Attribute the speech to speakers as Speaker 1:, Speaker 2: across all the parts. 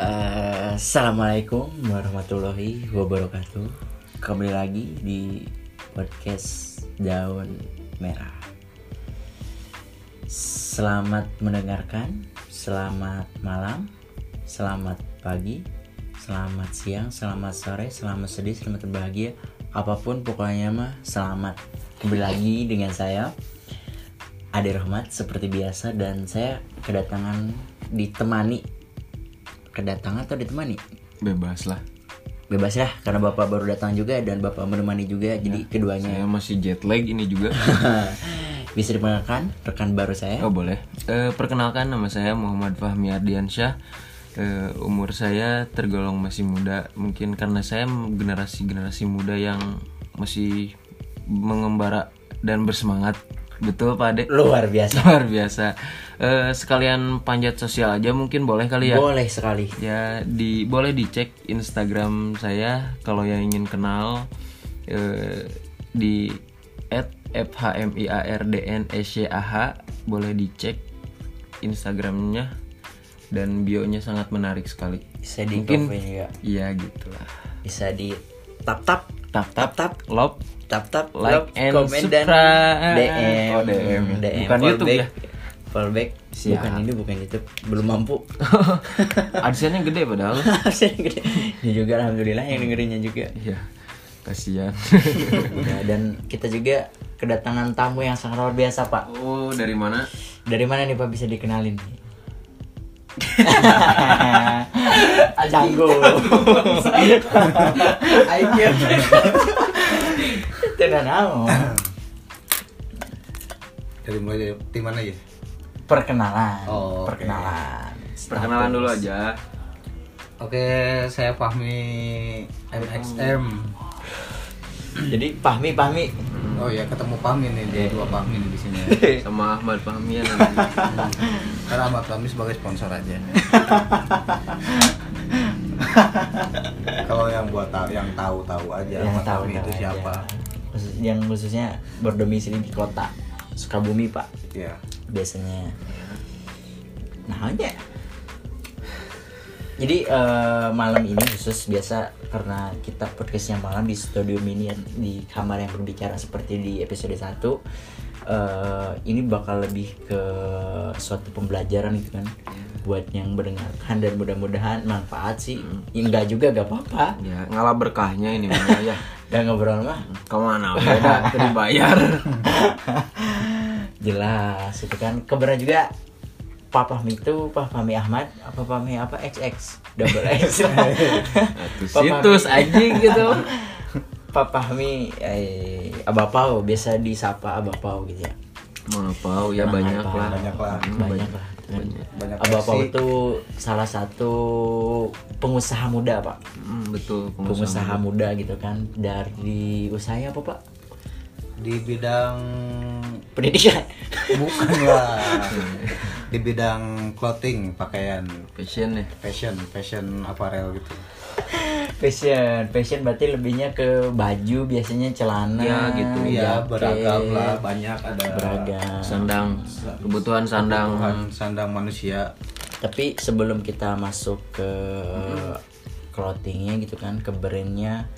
Speaker 1: Eh, Assalamualaikum warahmatullahi wabarakatuh. Kembali lagi di podcast Daun Merah. Selamat mendengarkan, selamat malam, selamat pagi, selamat siang, selamat sore, selamat sedih, selamat berbahagia, apapun pokoknya mah selamat. Kembali lagi dengan saya Ade Rahmat seperti biasa dan saya kedatangan ditemani kedatangan atau ditemani
Speaker 2: bebas lah
Speaker 1: bebas lah karena bapak baru datang juga dan bapak menemani juga jadi keduanya
Speaker 2: Ya, saya masih jet lag ini juga
Speaker 1: bisa diperkenalkan rekan baru saya
Speaker 2: oh boleh Eh, perkenalkan nama saya Muhammad Fahmi Ardiansyah Eh, umur saya tergolong masih muda mungkin karena saya generasi generasi muda yang masih mengembara dan bersemangat betul Pak Ade
Speaker 1: luar biasa
Speaker 2: luar biasa Eh, sekalian panjat sosial aja mungkin boleh kali ya
Speaker 1: boleh sekali
Speaker 2: ya di boleh dicek Instagram saya kalau yang ingin kenal eh, di @fhmiardnscah boleh dicek Instagramnya dan bionya sangat menarik sekali.
Speaker 1: bisa di
Speaker 2: Mungkin-
Speaker 1: cover juga
Speaker 2: Iya gitulah.
Speaker 1: bisa di tap tap
Speaker 2: Tap
Speaker 1: tap
Speaker 2: tap
Speaker 1: tap
Speaker 2: love
Speaker 1: tap tap
Speaker 2: Like
Speaker 1: love,
Speaker 2: and
Speaker 1: comment, dan
Speaker 2: subscribe.
Speaker 1: DM
Speaker 2: Oh, DM. Bukan
Speaker 1: follow
Speaker 2: YouTube
Speaker 1: back.
Speaker 2: ya?
Speaker 1: Follow back.
Speaker 2: Siap.
Speaker 1: bukan ini bukan YouTube belum mampu
Speaker 2: Adsense-nya gede padahal.
Speaker 1: Saya gede. Ini Ya juga alhamdulillah yang dengerinnya juga
Speaker 2: Iya. Kasihan.
Speaker 1: Ya, dan kita juga kedatangan tamu yang sangat luar biasa pak
Speaker 2: oh, dari mana?
Speaker 1: Dari mana nih Pak bisa dikenalin? Jago. Ayo. Tidak tahu.
Speaker 3: dari mulai dari tim mana ya
Speaker 1: Perkenalan.
Speaker 3: Oh, oke.
Speaker 1: perkenalan.
Speaker 2: Perkenalan dulu aja.
Speaker 3: oke saya Fahmi MXM
Speaker 1: Jadi Pahmi Pahmi.
Speaker 3: oh ya ketemu Fahmi nih dia dua Fahmi nih di sini
Speaker 2: Sama Ahmad Fahmi ya nanti.
Speaker 3: karena Ahmad Fahmi sebagai sponsor aja kalau yang buat tahu yang tahu tahu
Speaker 1: Ya,
Speaker 3: aja Ahmad Fahmi itu
Speaker 1: tahu
Speaker 3: siapa
Speaker 1: aja. Khusus- Yang khususnya berdomisili di kota Sukabumi Pak
Speaker 3: ya
Speaker 1: biasanya. Nah aja. Jadi eh, malam ini khusus biasa karena kita podcastnya malam di studio mini di kamar yang berbicara seperti di episode 1 eh, ini bakal lebih ke suatu pembelajaran gitu kan buat yang mendengarkan dan mudah-mudahan manfaat sih ya, enggak juga enggak apa-apa
Speaker 2: Ya, ngalah berkahnya ini mana ya.
Speaker 1: dan ngobrol mah
Speaker 2: Kemana beda tadi bayar.
Speaker 1: jelas itu kan keberan juga Papa Mi itu Papa Mi Ahmad apa Papa Mi apa XX double X
Speaker 2: Atus
Speaker 1: Papa Mi-
Speaker 2: situs anjing gitu.
Speaker 1: Papa Mi eh, Abapau biasa disapa Abapau gitu ya
Speaker 2: Mau pau ya
Speaker 1: Emang
Speaker 2: banyak
Speaker 1: apa?
Speaker 2: lah. Hmm,
Speaker 1: banyak
Speaker 3: banyak lah
Speaker 1: lah gitu kan.
Speaker 2: Banyak.
Speaker 3: Banyak
Speaker 1: Abapau
Speaker 3: versi.
Speaker 1: itu salah satu pengusaha muda pak
Speaker 2: Hmm, betul pengusaha.
Speaker 1: pengusaha muda gitu kan dari usahanya apa pak
Speaker 3: di bidang
Speaker 1: pendidikan
Speaker 3: bukan lah di bidang clothing pakaian
Speaker 2: Fashion ya.
Speaker 3: fashion fashion apparel gitu
Speaker 1: fashion fashion berarti lebihnya ke baju biasanya celana
Speaker 2: Ya, gitu. ya.
Speaker 3: Iya
Speaker 1: jaket.
Speaker 3: beragam lah banyak ada
Speaker 1: beragam
Speaker 2: Sandang. Kebutuhan sandang.
Speaker 3: Tuhan sandang manusia
Speaker 1: tapi sebelum kita masuk ke clothingnya gitu kan ke brandnya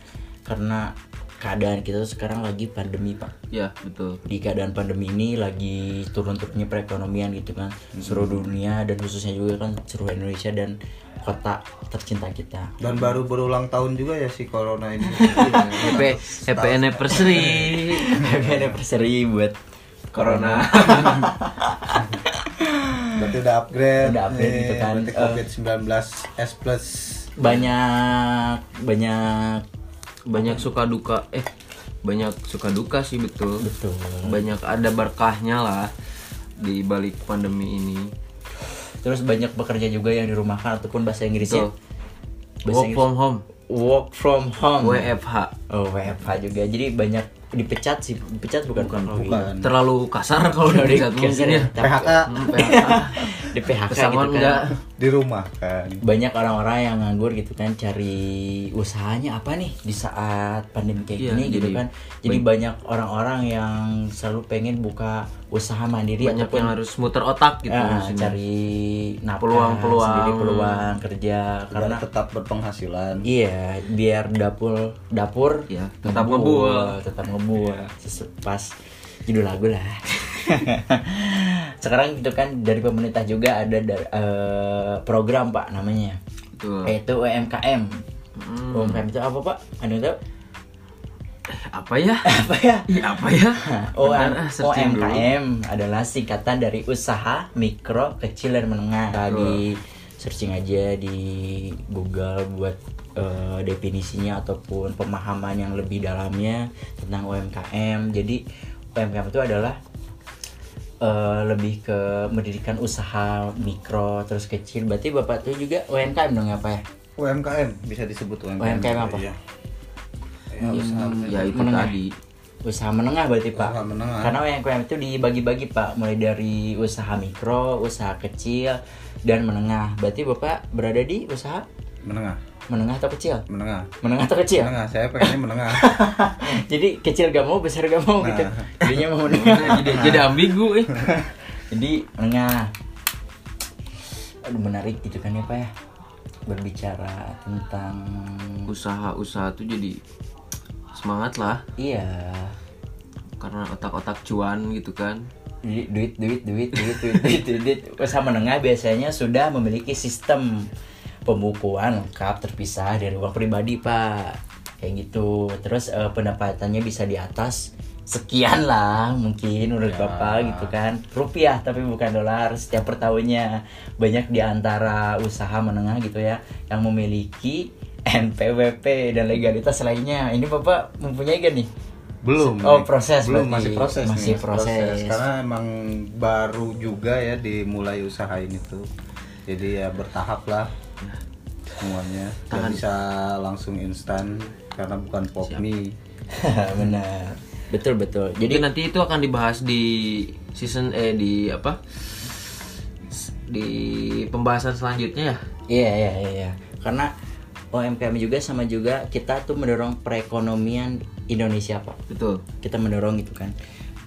Speaker 1: karena keadaan kita tuh sekarang lagi pandemi pak
Speaker 2: Ya, betul.
Speaker 1: di keadaan pandemi ini lagi turun-turunnya perekonomian gitu kan
Speaker 2: Hmm.
Speaker 1: seluruh dunia dan khususnya juga kan seluruh Indonesia dan kota tercinta kita
Speaker 3: dan baru berulang tahun juga ya si corona ini
Speaker 2: HP HP anniversary.
Speaker 1: happy anniversary buat corona
Speaker 3: berarti udah upgrade
Speaker 1: Udah upgrade
Speaker 3: nih,
Speaker 1: gitu kan.
Speaker 3: berarti
Speaker 1: Eh.
Speaker 3: covid 19 s plus
Speaker 1: banyak banyak
Speaker 2: Banyak suka duka. Eh, banyak suka duka sih betul.
Speaker 1: betul
Speaker 2: Banyak ada berkahnya lah di balik pandemi ini.
Speaker 1: terus banyak bekerja juga yang dirumahkan ataupun bahasa Inggrisnya Bahasa
Speaker 2: Betul. Work from home.
Speaker 1: work from home
Speaker 2: WFH.
Speaker 1: Oh, WFH juga. Jadi banyak dipecat sih. Dipecat bukan bukan.
Speaker 2: gitu.
Speaker 3: bukan
Speaker 2: Terlalu kasar kalau udah
Speaker 1: Terlalu
Speaker 2: dicat mungkin
Speaker 1: kasar
Speaker 2: ya.
Speaker 1: ya.
Speaker 3: PHK
Speaker 2: Hmm, PHK.
Speaker 1: di PHK
Speaker 2: Pesangon
Speaker 1: gitu kan.
Speaker 2: nggak?
Speaker 3: di rumah kan
Speaker 1: Banyak orang-orang yang nganggur gitu kan cari usahanya apa nih di saat pandemi kayak
Speaker 2: Iya,
Speaker 1: gini gitu
Speaker 2: jadi
Speaker 1: kan. Jadi banyak orang-orang yang selalu pengen buka usaha mandiri
Speaker 2: banyak
Speaker 1: ataupun
Speaker 2: yang harus muter otak gitu
Speaker 1: ya,
Speaker 2: di sini.
Speaker 1: cari nafkah
Speaker 2: Peluang-peluang.
Speaker 1: sendiri, peluang kerja karena
Speaker 3: karena tetap berpenghasilan
Speaker 1: Iya, biar dapur dapur
Speaker 2: Iya, tetap Iya. ngebual.
Speaker 1: tetap ngebual. Sesu- Pas judul lagu lah. Sekarang itu kan dari pemerintah juga ada da- eh, program Pak namanya.
Speaker 2: Betul.
Speaker 1: Yaitu UMKM.
Speaker 2: Hmm.
Speaker 1: UMKM itu apa Pak? Ada yang tahu?
Speaker 2: apa ya
Speaker 1: Apa ya?
Speaker 2: Ih, apa ya Bentar,
Speaker 1: OM-
Speaker 2: ah, searching dulu.
Speaker 1: UMKM adalah singkatan dari usaha mikro, kecil dan menengah. Di searching aja di Google buat eh, definisinya ataupun pemahaman yang lebih dalamnya tentang UMKM. Jadi UMKM itu adalah eh, lebih ke mendirikan usaha mikro terus kecil. Berarti Bapak tuh juga UMKM dong ya, Pak ya?
Speaker 3: UMKM bisa disebut UMKM
Speaker 1: UMKM apa?
Speaker 3: Iya. Ya, usaha
Speaker 2: ya itu
Speaker 1: Menengah.
Speaker 2: tadi
Speaker 1: usaha menengah berarti pak
Speaker 3: Usaha menengah.
Speaker 1: karena UMKM itu dibagi-bagi pak mulai dari usaha mikro usaha kecil dan menengah berarti bapak berada di usaha
Speaker 3: menengah
Speaker 1: menengah atau kecil
Speaker 3: menengah
Speaker 1: menengah atau kecil
Speaker 3: menengah saya pengennya menengah
Speaker 1: jadi kecil gak mau besar gak mau gitu
Speaker 3: Nah.
Speaker 1: jadinya mau menengah
Speaker 2: jadi jadi ambigu eh
Speaker 1: jadi menengah aduh menarik gitu kan ya pak ya berbicara tentang
Speaker 2: usaha-usaha tuh jadi semangat lah
Speaker 1: iya
Speaker 2: karena otak-otak cuan gitu kan
Speaker 1: duit duit duit duit duit duit duit duit, duit. usaha menengah biasanya sudah memiliki sistem pembukuan lengkap terpisah dari uang pribadi pak kayak gitu terus eh, pendapatannya bisa di atas sekian lah mungkin menurut bapak gitu kan rupiah tapi bukan dolar setiap per tahunnya banyak di antara usaha menengah gitu ya yang memiliki NPWP dan legalitas lainnya ini bapak mempunyai gak nih
Speaker 3: belum
Speaker 1: Oh, proses
Speaker 3: belum
Speaker 1: berarti.
Speaker 3: masih proses
Speaker 1: Masih
Speaker 3: nih,
Speaker 1: proses.
Speaker 3: karena emang baru juga ya dimulai usaha ini tuh jadi ya bertahap lah semuanya Gak bisa langsung instan karena bukan pop mie
Speaker 1: benar betul betul
Speaker 2: jadi
Speaker 1: jadi
Speaker 2: nanti itu akan dibahas di season eh di apa di pembahasan selanjutnya ya
Speaker 1: Iya iya iya. iya. Karena UMKM juga sama juga kita tuh mendorong perekonomian Indonesia pak.
Speaker 2: betul
Speaker 1: Kita mendorong gitu kan.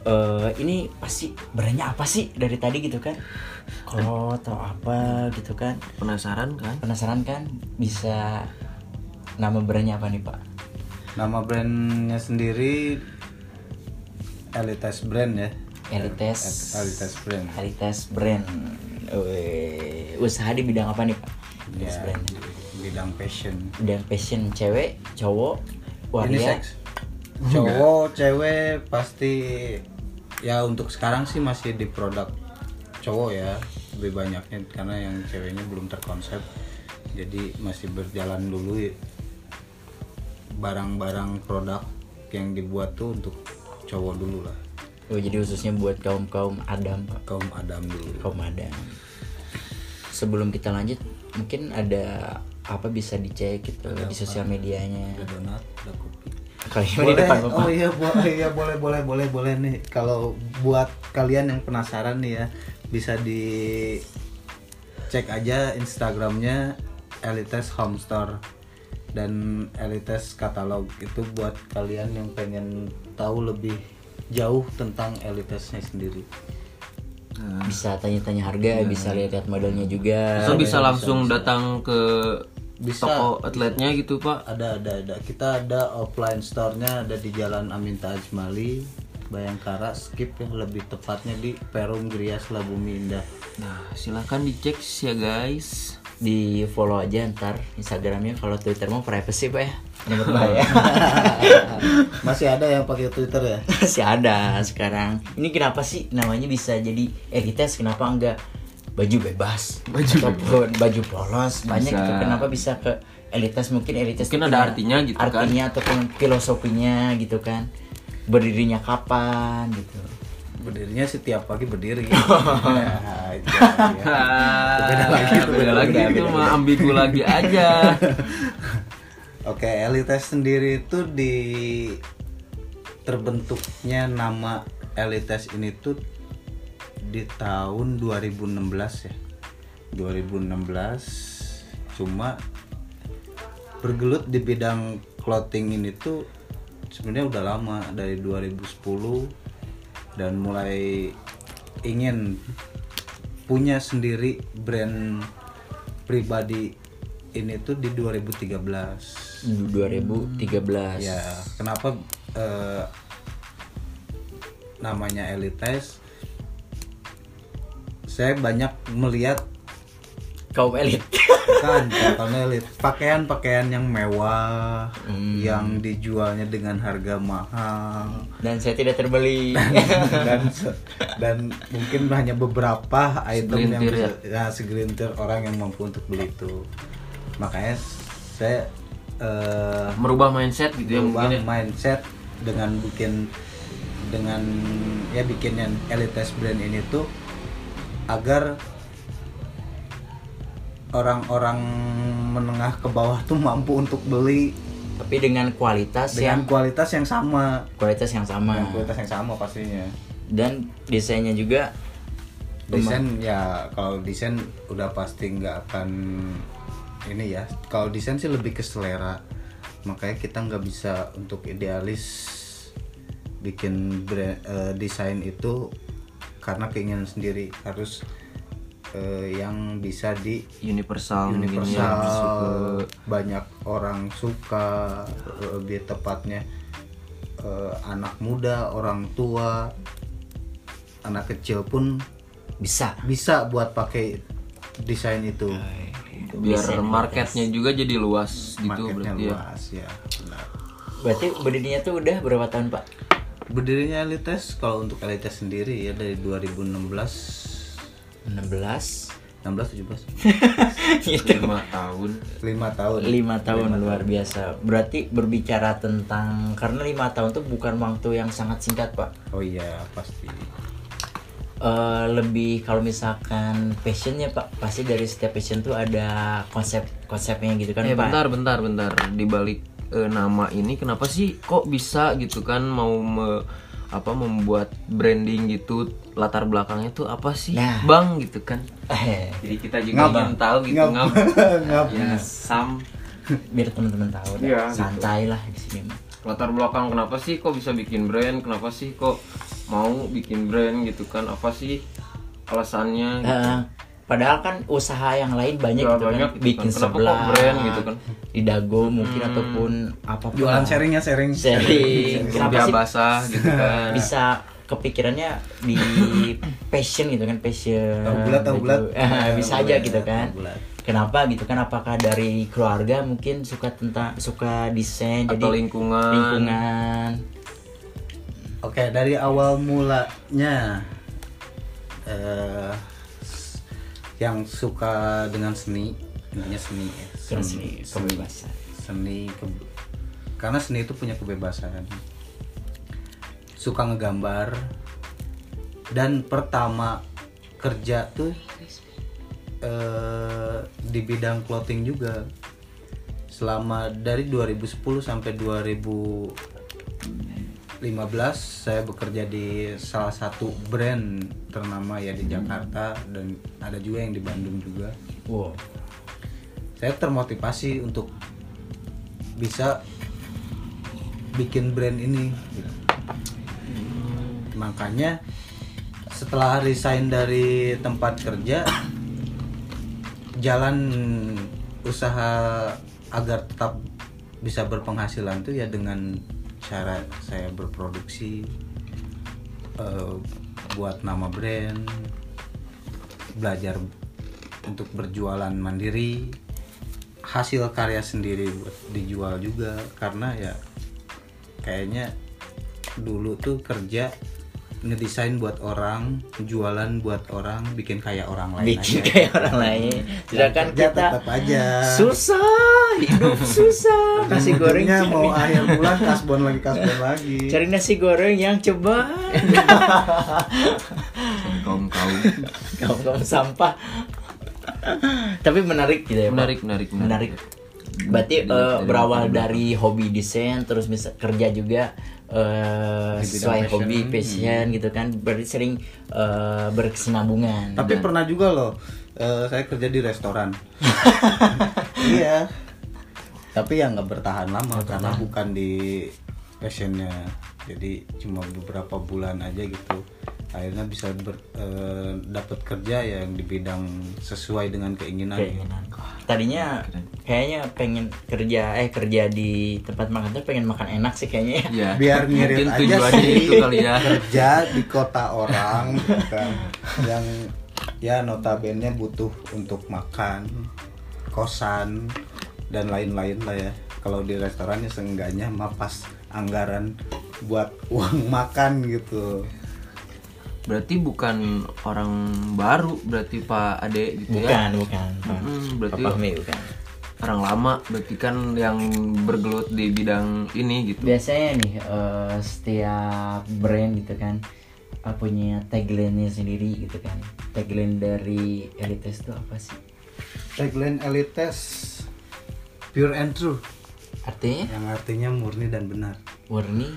Speaker 1: Eh ini pasti beranya apa sih dari tadi gitu kan? Kalau atau apa gitu kan?
Speaker 2: penasaran kan
Speaker 1: Penasaran kan? Bisa nama brandnya apa nih pak?
Speaker 3: nama brandnya sendiri Elites Brand ya
Speaker 1: Elites.
Speaker 3: Elites Brand
Speaker 1: Elites brand. Weh, usaha di bidang apa nih pak? Elites
Speaker 3: ya,
Speaker 1: brand.
Speaker 3: bidang fashion
Speaker 1: Dan passion cewek, cowok, waria.
Speaker 3: Unisex. cowok cewek pasti ya untuk sekarang sih masih di produk cowok ya lebih banyaknya karena yang ceweknya belum terkonsep jadi masih berjalan dulu ya. barang-barang produk yang dibuat tuh untuk cowok dulu lah
Speaker 1: Oh jadi khususnya buat kaum kaum Adam pak.
Speaker 3: kaum Adam dulu
Speaker 1: kaum Adam. Sebelum kita lanjut, mungkin ada apa bisa dicek gitu di sosial medianya.
Speaker 3: ada donat ada kopi
Speaker 1: Kalau ini di
Speaker 3: boleh
Speaker 1: depan Bapak.
Speaker 3: oh iya bo- iya, boleh boleh boleh boleh nih kalau buat kalian yang penasaran nih ya bisa di cek aja instagramnya elites homestore dan elites katalog itu buat kalian yang pengen tahu lebih jauh tentang elitesnya sendiri
Speaker 1: bisa tanya-tanya harga, bisa lihat-lihat modelnya juga.
Speaker 2: so bisa langsung datang ke
Speaker 3: Bisa,
Speaker 2: toko outletnya gitu pak
Speaker 3: ada ada ada kita ada offline store-nya ada di Jalan Aminta Ajmali Bayangkara skip yang lebih tepatnya di Perum Grias Labumi Indah
Speaker 2: nah silahkan dicek ya guys
Speaker 1: Di follow aja ntar Instagramnya kalau Twitter mau privacy pak ya. Menurut saya
Speaker 3: masih ada yang pakai Twitter ya
Speaker 1: masih ada sekarang. Ini kenapa sih namanya bisa jadi E elites? Kenapa enggak baju bebas ataupun baju polos? Banyak
Speaker 2: Bisa.
Speaker 1: itu kenapa bisa ke E elites? Mungkin elites
Speaker 2: Mungkin
Speaker 1: itu
Speaker 2: ada
Speaker 1: punya
Speaker 2: artinya gitu kan.
Speaker 1: artinya ataupun filosofinya gitu kan. Berdirinya kapan gitu.
Speaker 3: berdirinya sih tiap pagi berdiri Nah, itu Iya,
Speaker 2: beda lagi
Speaker 3: dia. tuh,
Speaker 2: Ah, beda lagi itu mah ambigu lagi aja
Speaker 3: Oke, Elites sendiri itu di terbentuknya nama Elites ini tuh di tahun 2016 ya. 2016 cuma bergelut di bidang clothing ini tuh sebenarnya udah lama dari 2010 dan mulai ingin punya sendiri brand pribadi ini tuh di 2013
Speaker 2: Hmm.
Speaker 1: 2013
Speaker 3: ya kenapa eh, namanya elites saya banyak melihat
Speaker 1: kaum elit
Speaker 3: kan karena elit pakaian-pakaian yang mewah yang dijualnya dengan harga mahal
Speaker 1: dan saya tidak terbeli
Speaker 3: dan se- dan mungkin hanya beberapa item yang
Speaker 2: Segelintir
Speaker 3: bisa, ya, segelintir orang yang mampu untuk beli itu makanya saya eh,
Speaker 2: merubah mindset gitu ya
Speaker 3: berubah
Speaker 2: mungkin ya.
Speaker 3: mindset dengan bikin dengan ya bikin yang elites brand ini tuh agar orang-orang menengah ke bawah tuh mampu untuk beli
Speaker 1: tapi dengan kualitas yang
Speaker 3: dengan kualitas yang sama
Speaker 1: kualitas yang sama
Speaker 3: dengan kualitas yang sama pastinya
Speaker 1: dan desainnya juga
Speaker 3: desain ya kalau desain udah pasti nggak akan ini ya kalau desain sih lebih ke selera makanya kita nggak bisa untuk idealis bikin bre- eh, desain itu karena keinginan sendiri harus eh, yang bisa di
Speaker 2: universal mungkin ya.
Speaker 3: universal banyak orang suka lebih tepatnya eh, anak muda orang tua anak kecil pun
Speaker 1: bisa
Speaker 3: bisa buat pakai desain itu
Speaker 2: biar marketnya juga jadi luas gitu
Speaker 3: marketnya
Speaker 2: berarti ya
Speaker 3: luas ya benar.
Speaker 1: berarti berdirinya tuh udah berapa tahun pak
Speaker 3: berdirinya elites kalau untuk elites sendiri ya dari 2016
Speaker 1: 16
Speaker 3: 16 17
Speaker 1: gitu
Speaker 2: lima tahun
Speaker 3: 5 tahun
Speaker 1: lima tahun luar biasa berarti berbicara tentang karena lima tahun tuh bukan waktu yang sangat singkat pak
Speaker 3: oh iya pasti
Speaker 1: Eh, lebih kalau misalkan passionnya pak pasti dari setiap passion tuh ada konsep konsepnya gitu kan
Speaker 2: eh
Speaker 1: pak
Speaker 2: bentar bentar bentar di balik eh, nama ini kenapa sih kok bisa gitu kan mau me- apa membuat branding gitu latar belakangnya tuh apa sih
Speaker 1: Nah.
Speaker 2: bang gitu kan
Speaker 1: Eh,
Speaker 2: jadi kita juga ingin tahu gitu
Speaker 3: Ngap.
Speaker 2: ngap
Speaker 3: Ngap.
Speaker 2: ya sam
Speaker 1: biar teman-teman tahu dah.
Speaker 2: Iya, gitu.
Speaker 1: santai lah di sini mah.
Speaker 2: latar belakang kenapa sih kok bisa bikin brand kenapa sih kok mau bikin brand gitu kan apa sih alasannya gitu.
Speaker 1: Eh, padahal kan usaha yang lain banyak
Speaker 2: Ya,
Speaker 1: gitu
Speaker 2: banyak
Speaker 1: kan
Speaker 2: gitu
Speaker 1: bikin
Speaker 2: kan. Kenapa kok
Speaker 1: sebelah
Speaker 2: brand gitu kan?
Speaker 1: di dago mungkin ataupun apa
Speaker 3: jualan sharing ya sharing
Speaker 1: sharing
Speaker 2: Lumpia
Speaker 1: kenapa sih
Speaker 2: basah gitu kan
Speaker 1: bisa kepikirannya di passion gitu kan passion
Speaker 3: Tahu bulat, tahu
Speaker 1: gitu.
Speaker 3: bulat.
Speaker 1: Eh, bisa
Speaker 3: Tahu
Speaker 1: aja
Speaker 3: bulat,
Speaker 1: gitu kan
Speaker 3: tahu bulat.
Speaker 1: kenapa gitu kan apakah dari keluarga mungkin suka tentang suka desain
Speaker 2: atau
Speaker 1: jadi
Speaker 2: lingkungan,
Speaker 1: lingkungan
Speaker 3: Oke, dari awal mulanya eh yang suka dengan seni, intinya seni, ya.
Speaker 1: Keren sih, gitu, kebebasan
Speaker 3: seni ke- karena seni itu punya kebebasan. Suka ngegambar dan pertama kerja tuh eh di bidang clothing juga. Selama dari 2010 sampai 2000 15 saya bekerja di salah satu brand ternama ya di Jakarta dan ada juga yang di Bandung juga.
Speaker 1: wow
Speaker 3: Saya termotivasi untuk bisa bikin brand ini. gitu. Makanya setelah resign dari tempat kerja jalan usaha agar tetap bisa berpenghasilan tuh ya dengan cara saya berproduksi eh, buat nama brand belajar untuk berjualan mandiri hasil karya sendiri buat dijual juga karena ya kayaknya dulu tuh kerja ngedesain buat orang jualan buat orang bikin kayak orang lain
Speaker 1: bikin
Speaker 3: aja
Speaker 1: kayak ya orang lain sedangkan
Speaker 3: kerja
Speaker 1: kita
Speaker 3: tetap aja
Speaker 1: susah hidup susah nasi goreng
Speaker 3: Ujung-ujungnya mau
Speaker 1: cari,
Speaker 3: akhir bulan kasbon lagi kasbon lagi
Speaker 1: cari nasi goreng yang coba
Speaker 2: kaum kaum
Speaker 1: kamu kamu sampah tapi menarik gitu ya Pak?
Speaker 2: menarik menarik
Speaker 1: menarik berarti eh, berawal dari hobi desain terus bisa kerja juga eh, sesuai hobi passion gitu kan berarti sering eh, berkesinambungan
Speaker 3: Iya, tapi pernah juga loh eh, saya kerja di restoran. iya. Tapi ya nggak bertahan lama karena bukan di passionnya. Jadi cuma beberapa bulan aja gitu. Akhirnya bisa ber- eh, dapat kerja ya yang di bidang sesuai dengan keinginan. gitu.
Speaker 1: keinginan tadinya kayaknya pengen kerja eh kerja di tempat makan tuh pengen makan enak sih kayaknya ya.
Speaker 2: Ya,
Speaker 3: Biar
Speaker 2: mungkin
Speaker 3: ngirit aja
Speaker 2: tujuannya
Speaker 3: sih.
Speaker 2: itu kali ya.
Speaker 3: kerja di kota orang gitu kan yang ya notabene butuh untuk makan kosan dan lain-lain lah ya kalau di restoran ya seenggaknya mapas anggaran buat uang makan gitu
Speaker 2: Berarti bukan orang baru, berarti Pak Ade gitu ya.
Speaker 1: bukan bukan Pak.
Speaker 2: Hmm, berarti
Speaker 1: Papa Mi bukan
Speaker 2: orang lama, berarti kan yang bergelut di bidang ini gitu.
Speaker 1: biasanya nih eh, setiap brand gitu kan eh, punya tagline-nya sendiri gitu kan tagline dari elites itu apa sih
Speaker 3: tagline elites pure and true
Speaker 1: artinya
Speaker 3: yang artinya murni dan benar
Speaker 1: warni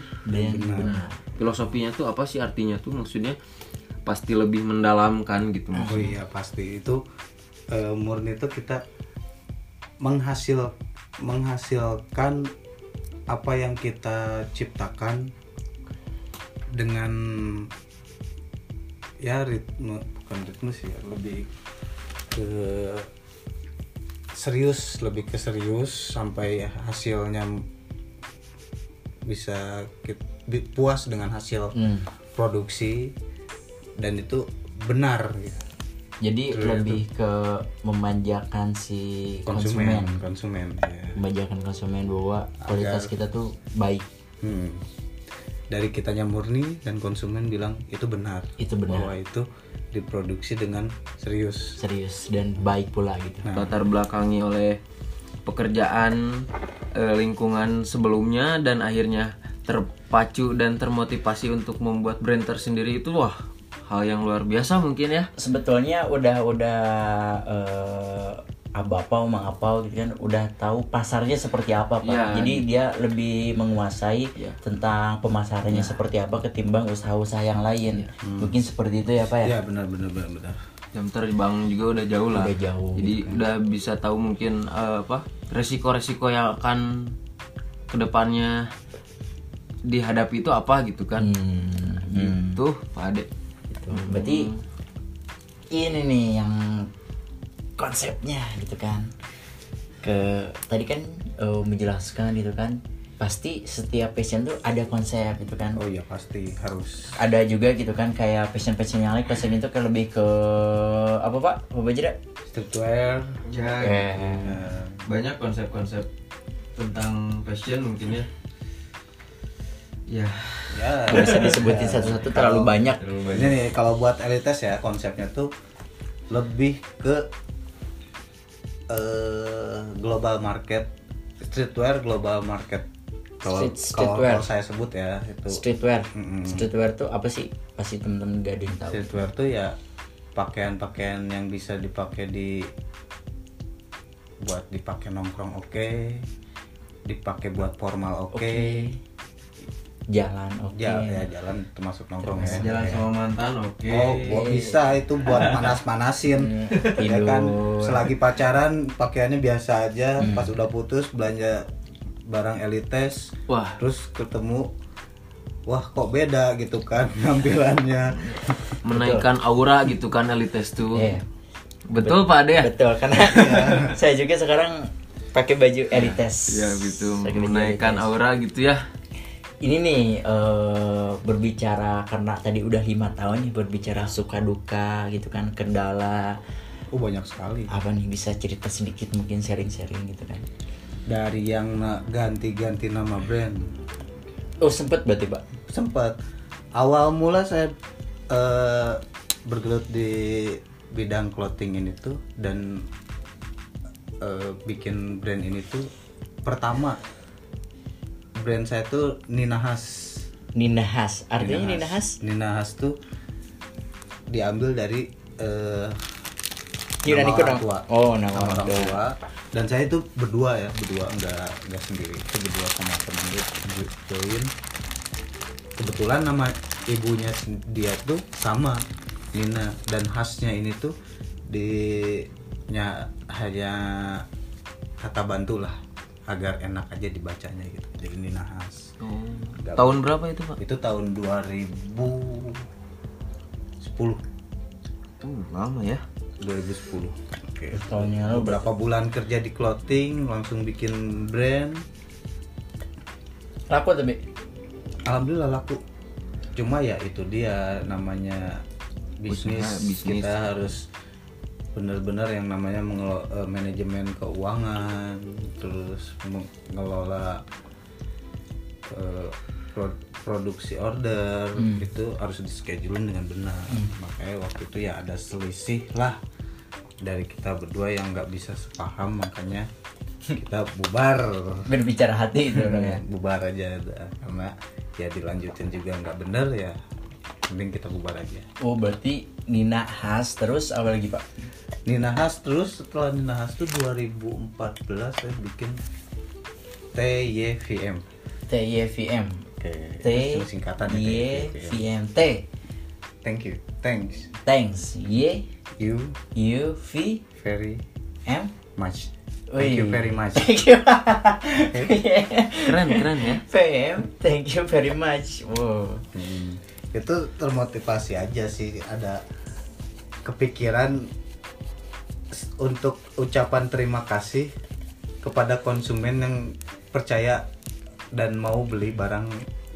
Speaker 1: dan
Speaker 2: Iya,
Speaker 1: benar
Speaker 2: Filosofinya tuh apa sih artinya tuh maksudnya pasti lebih mendalamkan gitu.
Speaker 3: oh iya pasti itu eh, murni itu kita menghasil menghasilkan apa yang kita ciptakan dengan ya ritme bukan ritme sih ya, lebih ke serius lebih ke serius sampai hasilnya bisa kita, puas dengan hasil
Speaker 1: Hmm.
Speaker 3: produksi dan itu benar gitu.
Speaker 1: jadi lebih ke memanjakan si konsumen,
Speaker 3: konsumen konsumen ya.
Speaker 1: memanjakan konsumen bahwa kualitas
Speaker 3: Agar-
Speaker 1: kita tuh baik
Speaker 3: Hmm. dari kitanya murni dan konsumen bilang itu benar
Speaker 1: Itu benar.
Speaker 3: bahwa itu diproduksi dengan serius
Speaker 1: serius dan baik pula gitu
Speaker 2: Latar belakangi oleh pekerjaan eh, lingkungan sebelumnya dan akhirnya terpacu dan termotivasi untuk membuat brand tersendiri itu wah hal yang luar biasa mungkin ya.
Speaker 1: sebetulnya udah udah eh, abapau mangapau gitu kan udah tahu pasarnya seperti apa pak
Speaker 2: Ya.
Speaker 1: jadi dia lebih menguasai
Speaker 2: Ya.
Speaker 1: tentang pemasarannya seperti apa ketimbang usaha-usaha yang lain mungkin seperti itu ya pak ya,
Speaker 3: ya benar benar benar benar
Speaker 2: jam terbang juga udah jauh lah
Speaker 1: Udah jauh, gitu.
Speaker 2: jadi udah bisa tahu mungkin eh, apa resiko-resiko yang akan kedepannya dihadapi itu apa gitu kan
Speaker 1: Hmm,
Speaker 2: gitu pak ade
Speaker 1: gitu. berarti ini nih yang konsepnya gitu kan ke tadi kan eh, menjelaskan gitu kan pasti setiap passion tuh ada konsep gitu kan
Speaker 3: oh iya pasti harus
Speaker 1: ada juga gitu kan kayak passion-passion yang lain passion itu kayak lebih ke apa pak apa aja dah?
Speaker 3: streetwear eh,
Speaker 2: banyak konsep-konsep tentang fashion mungkin ya ya
Speaker 3: ya
Speaker 1: Nggak bisa disebutin satu-satu terlalu banyak
Speaker 3: ini nih kalau buat elites ya konsepnya tuh lebih ke eh, global market streetwear global market kalau
Speaker 1: Street-
Speaker 3: kalau-
Speaker 1: streetwear.
Speaker 3: kalau saya sebut ya itu
Speaker 1: streetwear
Speaker 3: Mm-mm.
Speaker 1: streetwear tuh apa sih pasti temen-temen gak ada yang tahu
Speaker 3: streetwear tuh ya pakaian-pakaian yang bisa dipakai di buat dipakai nongkrong oke dipakai buat formal oke
Speaker 1: jalan oke
Speaker 3: Ja- ya, jalan termasuk nongkrong ya
Speaker 2: sama mantan oke
Speaker 3: Oh, bo- bisa itu buat manas-manasin. ya kan
Speaker 1: tidur.
Speaker 3: selagi pacaran pakaiannya biasa aja, pas udah putus belanja barang elites.
Speaker 2: Wah.
Speaker 3: Terus ketemu wah kok beda gitu kan tampilannya.
Speaker 2: menaikkan aura gitu kan elites tuh
Speaker 1: Iya.
Speaker 2: betul pak ade ya
Speaker 1: betul karena saya juga sekarang pakai baju elites
Speaker 2: ya gitu
Speaker 1: Pakai baju
Speaker 2: menaikkan
Speaker 1: elites.
Speaker 2: aura gitu ya
Speaker 1: ini nih eh, berbicara karena tadi udah lima tahun nih berbicara suka duka gitu kan kendala
Speaker 3: Oh, banyak sekali.
Speaker 1: apa nih bisa cerita sedikit mungkin sharing-sharing gitu kan
Speaker 3: Dari yang na- ganti-ganti nama brand
Speaker 1: oh sempet berarti pak
Speaker 3: sempat awal mula saya eh, bergelut di bidang clothing ini tuh dan eh, bikin brand ini tuh pertama brand saya tuh Nina Has
Speaker 1: Nina Has artinya Nina Has
Speaker 3: Nina Has tuh diambil dari eh,
Speaker 1: Yunani
Speaker 3: nama
Speaker 1: kuno.
Speaker 3: orang tua.
Speaker 1: Oh, nama orang
Speaker 3: orang tua. Dan saya itu berdua ya, berdua enggak enggak sendiri. Itu berdua sama temen gue jo- join. Kebetulan nama ibunya sen- dia tuh sama Nina dan khasnya ini tuh di nya hanya kata bantu lah agar enak aja dibacanya gitu jadi ini nahas Gak-
Speaker 2: Tahun berapa itu, Pak?
Speaker 3: itu tahun 2010
Speaker 2: Tuh, lama ya.
Speaker 3: 2010 Oke.
Speaker 1: Tahunnya
Speaker 3: Lalu berapa bulan kerja di clothing langsung bikin brand
Speaker 1: Laku tapi
Speaker 3: alhamdulillah laku cuma ya itu dia namanya bisnis,
Speaker 2: Usaha, bisnis.
Speaker 3: kita harus benar-benar yang namanya mengelo- eh, manajemen keuangan terus mengelola eh, pro- produksi order itu harus di scheduling dengan benar makanya waktu itu ya ada selisih lah dari kita berdua yang nggak bisa sepaham makanya kita bubar
Speaker 1: berbicara hati itu dong ya.
Speaker 3: bubar aja dah. karena ya dilanjutin juga nggak bener ya mending kita bubar aja
Speaker 1: Oh berarti Nina khas terus apa lagi pak?
Speaker 3: Nina Has terus setelah Nina Has tuh 2014 saya bikin TYVM
Speaker 1: TYVM.
Speaker 3: oke
Speaker 1: T
Speaker 3: itu singkatan ya TYVM.
Speaker 1: YVM T.
Speaker 3: thank you thanks
Speaker 1: Thanks Y
Speaker 3: you
Speaker 1: U V
Speaker 3: very
Speaker 1: M.
Speaker 3: much thank you
Speaker 1: Wih.
Speaker 3: very much
Speaker 1: Thank you.
Speaker 2: Keren, keren ya.
Speaker 1: PM, thank you very much. Wow.
Speaker 3: Hmm. itu termotivasi aja sih ada kepikiran s- untuk ucapan terima kasih kepada konsumen yang percaya dan mau beli barang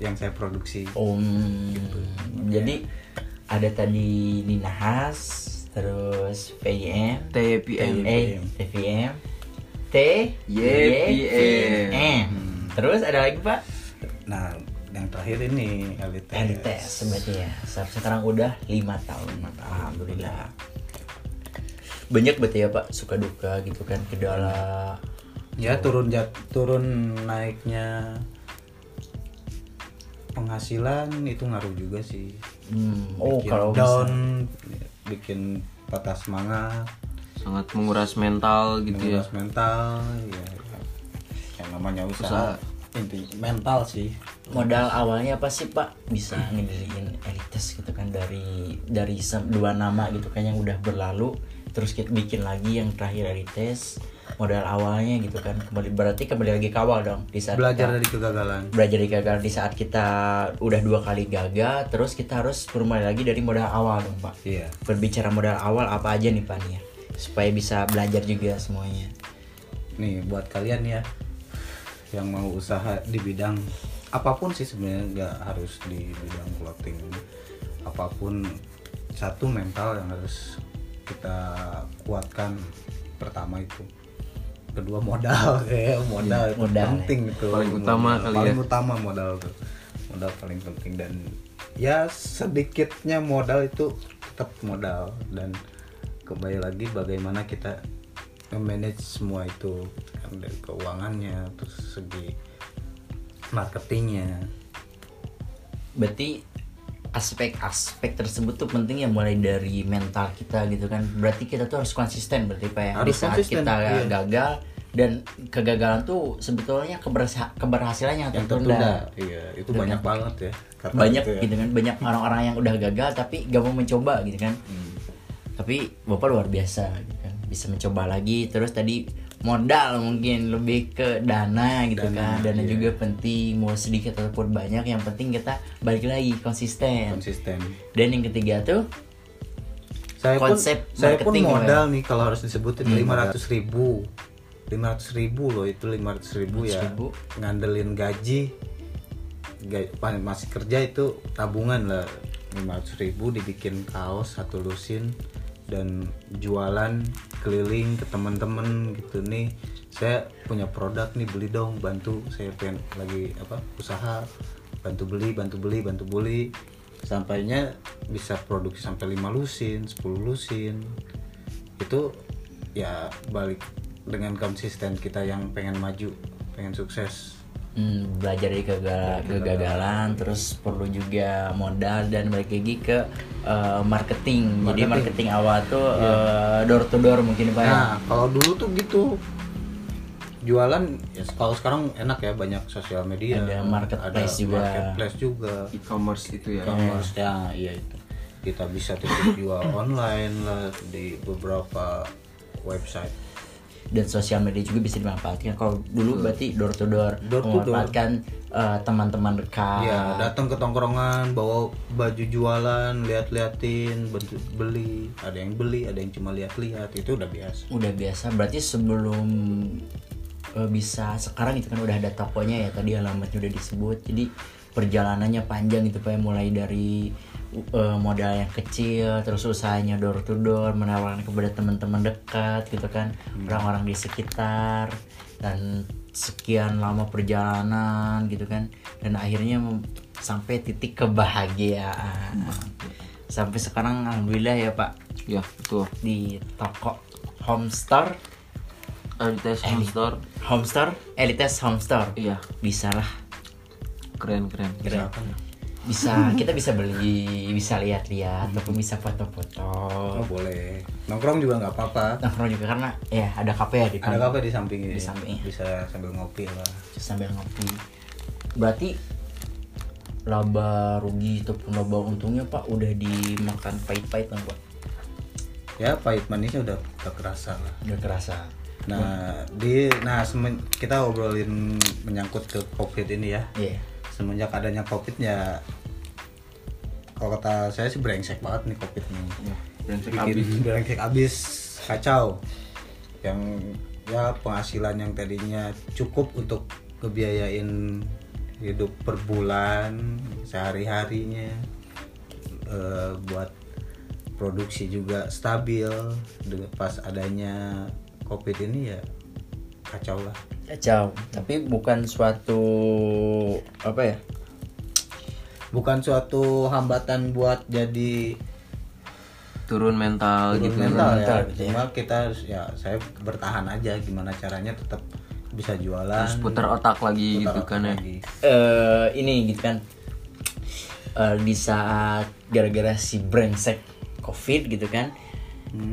Speaker 3: yang saya produksi
Speaker 1: Om. Jadi ada tadi Nina Has, terus PM,
Speaker 2: TPM.
Speaker 1: Eh, TVM T
Speaker 2: YPM.
Speaker 1: YPM. Terus ada lagi pak?
Speaker 3: nah yang terakhir ini LTS,
Speaker 1: LTS sebenarnya ya. Sampai sekarang udah lima tahun Alhamdulillah Banyak berarti ya pak suka duka gitu kan Kedala
Speaker 3: ya turun jat turun naiknya penghasilan itu ngaruh juga sih
Speaker 1: hmm, Oh
Speaker 3: Bikin
Speaker 1: kalau
Speaker 3: down
Speaker 1: bisa
Speaker 3: bikin patah semangat
Speaker 2: Sangat menguras mental gitu ya.
Speaker 1: Iya.
Speaker 3: menguras mental ya yang namanya usaha, inti mental sih
Speaker 1: Modal awalnya apa sih pak Bisa ngebeliin elites gitu kan Dari dari se- dua nama gitu kan yang udah berlalu Terus kita bikin lagi yang terakhir elites Modal awalnya gitu kan kembali Berarti kembali lagi ke awal dong Di saat
Speaker 3: belajar
Speaker 1: kita-
Speaker 3: dari kegagalan
Speaker 1: belajar dari gagal di saat kita udah dua kali gagal terus kita harus bermulai lagi dari modal awal dong pak
Speaker 3: iya
Speaker 1: berbicara modal awal apa aja nih pak nih ya? supaya bisa belajar juga semuanya
Speaker 3: nih buat kalian ya yang mau usaha di bidang apapun sih sebenarnya nggak harus di bidang clothing apapun satu mental yang harus kita kuatkan pertama itu kedua modal ya modal itu
Speaker 1: modal ya.
Speaker 3: penting gitu. itu
Speaker 2: Paling utama
Speaker 3: Modal-
Speaker 2: kali
Speaker 3: paling
Speaker 2: ya.
Speaker 3: utama modal tuh modal paling penting dan ya sedikitnya modal itu tetap modal dan kembali lagi bagaimana kita manage semua itu Kan dari keuangannya terus segi marketingnya
Speaker 1: berarti aspek-aspek tersebut tuh penting ya mulai dari mental kita gitu kan berarti kita tuh harus konsisten berarti pak ya di
Speaker 3: Harus
Speaker 1: saat
Speaker 3: konsisten,
Speaker 1: kita
Speaker 3: iya.
Speaker 1: gagal dan kegagalan tuh sebetulnya keberhas- keberhasilan yang,
Speaker 3: yang
Speaker 1: tertunda.
Speaker 3: tertunda iya itu banyak banget ya kata
Speaker 1: banyak
Speaker 3: itu ya.
Speaker 1: gitu kan banyak orang-orang yang udah gagal tapi gak mau mencoba gitu kan
Speaker 3: Hmm.
Speaker 1: tapi bapak luar biasa gitu kan bisa mencoba lagi terus tadi modal mungkin lebih ke dana gitu
Speaker 3: Dana,
Speaker 1: kan dana
Speaker 3: iya.
Speaker 1: juga penting mau sedikit ataupun banyak yang penting kita balik lagi konsisten
Speaker 3: konsisten
Speaker 1: dan yang ketiga tuh
Speaker 3: saya
Speaker 1: Konsep
Speaker 3: pun saya pun
Speaker 1: marketing,
Speaker 3: modal nih kalau harus disebutin lima ratus ribu lima ratus ribu loh itu lima ratus ribu ya
Speaker 1: 500.000.
Speaker 3: ngandelin gaji Ga- pa- masih kerja itu tabungan lah lima ratus ribu dibikin kaos satu lusin dan jualan keliling ke teman-teman gitu nih saya punya produk nih beli dong bantu saya pengen lagi apa usaha bantu beli bantu beli bantu beli sampainya bisa produksi sampai 5 lusin 10 lusin itu ya balik dengan konsisten kita yang pengen maju pengen sukses
Speaker 1: hmm, belajar dari kegagalan, kegagalan terus perlu juga modal dan balik lagi ke eh, marketing. jadi marketing awal tuh eh, door to door mungkin pak ya?
Speaker 3: Iya. Nah, kalau dulu tuh gitu jualan ya kalau sekarang enak ya banyak sosial media
Speaker 1: Ada marketplace juga.
Speaker 3: marketplace juga
Speaker 2: E-commerce itu ya.
Speaker 3: e-commerce ya iya itu kita bisa titip jual online lah di beberapa website
Speaker 1: dan sosial media juga bisa dimanfaatkan kalau dulu berarti door to door,
Speaker 3: Door to door.
Speaker 1: memanfaatkan eh, teman-teman dekat
Speaker 3: ya datang ke tongkrongan bawa baju jualan lihat-liatin bentu- beli ada yang beli ada yang cuma lihat-lihat itu udah biasa
Speaker 1: udah biasa berarti sebelum eh, bisa sekarang itu kan udah ada tokonya ya tadi alamatnya udah disebut jadi perjalanannya panjang gitu pak ya. mulai dari eh, modal yang kecil terus usahanya door to door menawarkan kepada teman-teman dekat gitu kan orang-orang di sekitar dan sekian lama perjalanan gitu kan dan akhirnya mem- sampai titik kebahagiaan sampai sekarang alhamdulillah ya pak
Speaker 2: ya betul
Speaker 1: di toko Homestar
Speaker 2: Elites Store
Speaker 1: Homestar Elites Homestar
Speaker 2: iya
Speaker 1: bisa lah
Speaker 2: keren keren
Speaker 1: kira- bisa kita bisa beli bisa lihat-lihat ataupun bisa foto-foto
Speaker 3: oh boleh nongkrong juga nggak apa-apa
Speaker 1: nongkrong juga karena ya ada kafe ya di
Speaker 3: ada
Speaker 1: kampung.
Speaker 3: apa di sampingnya
Speaker 1: Di sampingnya.
Speaker 3: bisa sambil ngopi lah
Speaker 1: Terus sambil ngopi berarti laba rugi ataupun laba untungnya pak udah dimakan pahit-pahit kan pak
Speaker 3: ya pahit manisnya udah udah kerasa lah
Speaker 1: udah kerasa
Speaker 3: nah di nah semen- kita obrolin menyangkut ke covid ini ya
Speaker 1: iya
Speaker 3: semenjak adanya covid ya kalau kata saya sih brengsek banget nih covid nih
Speaker 2: Hmm. brengsek
Speaker 3: bikin brengsek abis kacau yang ya penghasilan yang tadinya cukup untuk ngebiayain hidup per bulan sehari harinya buat produksi juga stabil dengan pas adanya covid ini ya kacau lah
Speaker 1: kacau tapi bukan suatu apa ya
Speaker 3: bukan suatu hambatan buat jadi
Speaker 2: turun mental
Speaker 3: turun
Speaker 2: gitu
Speaker 3: mental ya.
Speaker 1: mental Oh, gitu ya.
Speaker 3: Cuma kita harus- ya saya bertahan aja gimana caranya tetap bisa jualan.
Speaker 2: terus putar otak lagi
Speaker 3: putar
Speaker 2: gitu
Speaker 3: otak
Speaker 2: kan ya
Speaker 3: lagi.
Speaker 1: eh ini gitu kan Eh, di saat gara-gara si brengsek covid gitu kan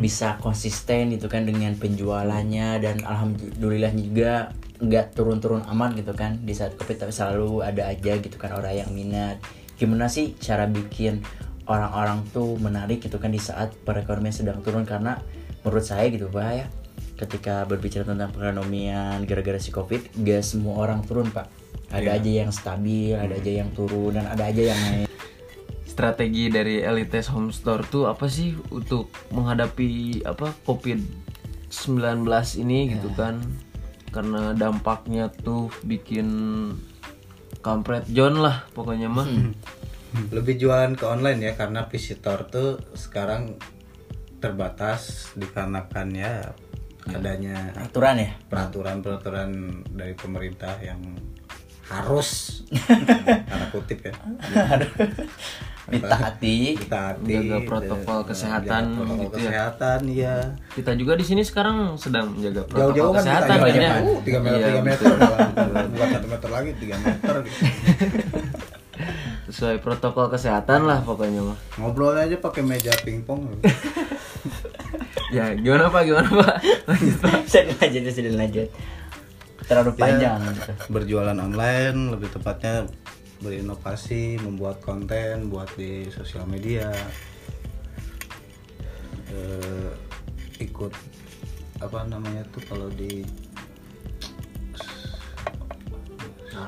Speaker 1: bisa konsisten gitu kan dengan penjualannya dan alhamdulillah juga nggak turun-turun amat gitu kan di saat covid tapi selalu ada aja gitu kan orang yang minat gimana sih cara bikin orang-orang tuh menarik gitu kan di saat perekonomian sedang turun karena menurut saya gitu pak ya ketika berbicara tentang perekonomian gara-gara si covid gak semua orang turun pak ada aja yang stabil ada aja yang turun dan ada aja yang naik
Speaker 2: strategi dari Elites Home Store tuh apa sih untuk menghadapi apa Covid 19 ini
Speaker 3: Ya.
Speaker 2: gitu kan karena dampaknya tuh bikin kampret John lah pokoknya mah
Speaker 3: Hmm. Lebih jualan ke online ya karena visitor tuh sekarang terbatas dikarenakan ya
Speaker 2: Iya.
Speaker 3: adanya
Speaker 1: aturan ya
Speaker 3: peraturan-peraturan dari pemerintah yang harus karena kutip ya
Speaker 1: ditaati
Speaker 3: ditaati
Speaker 2: Jaga protokol
Speaker 3: Jaga
Speaker 2: kesehatan
Speaker 3: protokol
Speaker 2: gitu ya.
Speaker 3: kesehatan ya
Speaker 2: kita juga di sini sekarang sedang menjaga protokol
Speaker 3: jauh-jauh kan
Speaker 2: kesehatan
Speaker 3: kita
Speaker 2: kan
Speaker 3: jauh
Speaker 2: ya
Speaker 3: tiga meter
Speaker 2: Iya,
Speaker 3: tiga meter
Speaker 2: betul.
Speaker 3: malah. bukan satu meter lagi tiga meter gitu.
Speaker 2: sesuai protokol kesehatan lah pokoknya mah
Speaker 3: ngobrol aja pakai meja pingpong
Speaker 2: ya gimana pak gimana pak Lanjut, Pak.
Speaker 1: saya lanjut saya lanjut terlalu panjang gitu.
Speaker 3: berjualan online lebih tepatnya berinovasi membuat konten buat di sosial media Eh, ikut apa namanya tuh kalau di